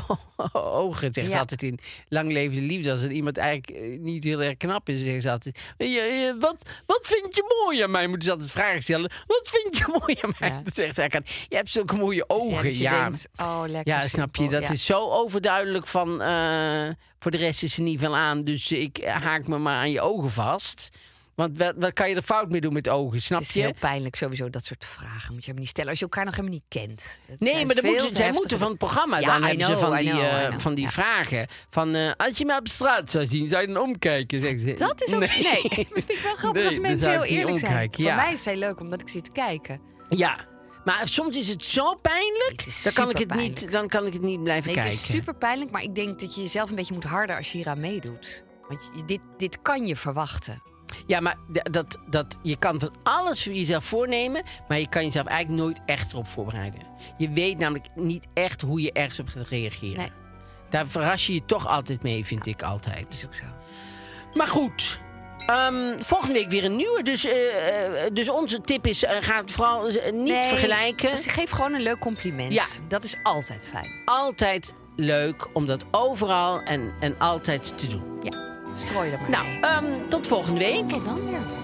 [SPEAKER 2] ogen, zegt ze
[SPEAKER 1] Ja.
[SPEAKER 2] altijd in Lang Leven de Liefde. Als er iemand eigenlijk eh, niet heel erg knap is, zegt ze altijd... "Eh, eh, eh, wat, wat vind je mooi aan mij? Moeten ze altijd vragen stellen. Wat vind je mooi aan mij?
[SPEAKER 1] Ja.
[SPEAKER 2] Dat zegt ze eigenlijk altijd, Je hebt zulke mooie
[SPEAKER 1] Ja,
[SPEAKER 2] ogen,
[SPEAKER 1] dus je
[SPEAKER 2] ja.
[SPEAKER 1] denkt, oh, lekker.
[SPEAKER 2] Ja, snap je.
[SPEAKER 1] simpel,
[SPEAKER 2] Dat
[SPEAKER 1] ja.
[SPEAKER 2] is zo overduidelijk van... eh, voor de rest is er niet veel aan, dus ik haak me maar aan je ogen vast... Want wat, wat kan je er fout mee doen met ogen, snap
[SPEAKER 1] Het is
[SPEAKER 2] je?
[SPEAKER 1] heel pijnlijk sowieso, dat soort vragen moet je helemaal niet stellen. Als je elkaar nog helemaal niet kent. Het
[SPEAKER 2] Nee,
[SPEAKER 1] zijn
[SPEAKER 2] maar dan
[SPEAKER 1] veel
[SPEAKER 2] moeten,
[SPEAKER 1] te
[SPEAKER 2] zij
[SPEAKER 1] heftige-
[SPEAKER 2] moeten van het programma.
[SPEAKER 1] Ja,
[SPEAKER 2] dan
[SPEAKER 1] I
[SPEAKER 2] hebben ze
[SPEAKER 1] know,
[SPEAKER 2] van
[SPEAKER 1] I
[SPEAKER 2] die,
[SPEAKER 1] know, I
[SPEAKER 2] eh,
[SPEAKER 1] know.
[SPEAKER 2] van die
[SPEAKER 1] Ja.
[SPEAKER 2] vragen. Van, eh, als je mij op straat zou zien, zou je dan omkijken? Zeggen ze.
[SPEAKER 1] Dat is ook... Nee, dat vind ik wel grappig
[SPEAKER 2] Nee,
[SPEAKER 1] als
[SPEAKER 2] dan
[SPEAKER 1] mensen
[SPEAKER 2] zou
[SPEAKER 1] heel
[SPEAKER 2] ik niet
[SPEAKER 1] eerlijk zijn.
[SPEAKER 2] omkijken,
[SPEAKER 1] Voor
[SPEAKER 2] ja.
[SPEAKER 1] mij is zij leuk, omdat ik zit te kijken.
[SPEAKER 2] Ja, maar soms is het zo pijnlijk.
[SPEAKER 1] Het is
[SPEAKER 2] dan, kan ik het niet,
[SPEAKER 1] superpijnlijk.
[SPEAKER 2] dan kan ik het niet blijven
[SPEAKER 1] Nee, het
[SPEAKER 2] kijken.
[SPEAKER 1] is super pijnlijk, maar ik denk dat je jezelf een beetje moet harder als je hier aan meedoet. Want je- dit, dit kan je verwachten.
[SPEAKER 2] Ja, maar d- dat, dat, je kan van alles voor jezelf voornemen, maar je kan jezelf eigenlijk nooit echt erop voorbereiden. Je weet namelijk niet echt hoe je ergens op gaat reageren.
[SPEAKER 1] Nee.
[SPEAKER 2] Daar verras je je toch altijd mee, vind ik altijd.
[SPEAKER 1] Is ook zo.
[SPEAKER 2] Maar goed. ehm, volgende week weer een nieuwe. Dus, eh, eh, dus onze tip is: eh, ga het vooral eh, niet
[SPEAKER 1] Nee,
[SPEAKER 2] vergelijken.
[SPEAKER 1] dus geef gewoon een leuk compliment.
[SPEAKER 2] Ja.
[SPEAKER 1] Dat is altijd fijn.
[SPEAKER 2] Altijd leuk om dat overal en, en altijd te doen.
[SPEAKER 1] Strooi er maar
[SPEAKER 2] Nou,
[SPEAKER 1] mee.
[SPEAKER 2] ehm, tot volgende week.
[SPEAKER 1] Tot dan weer.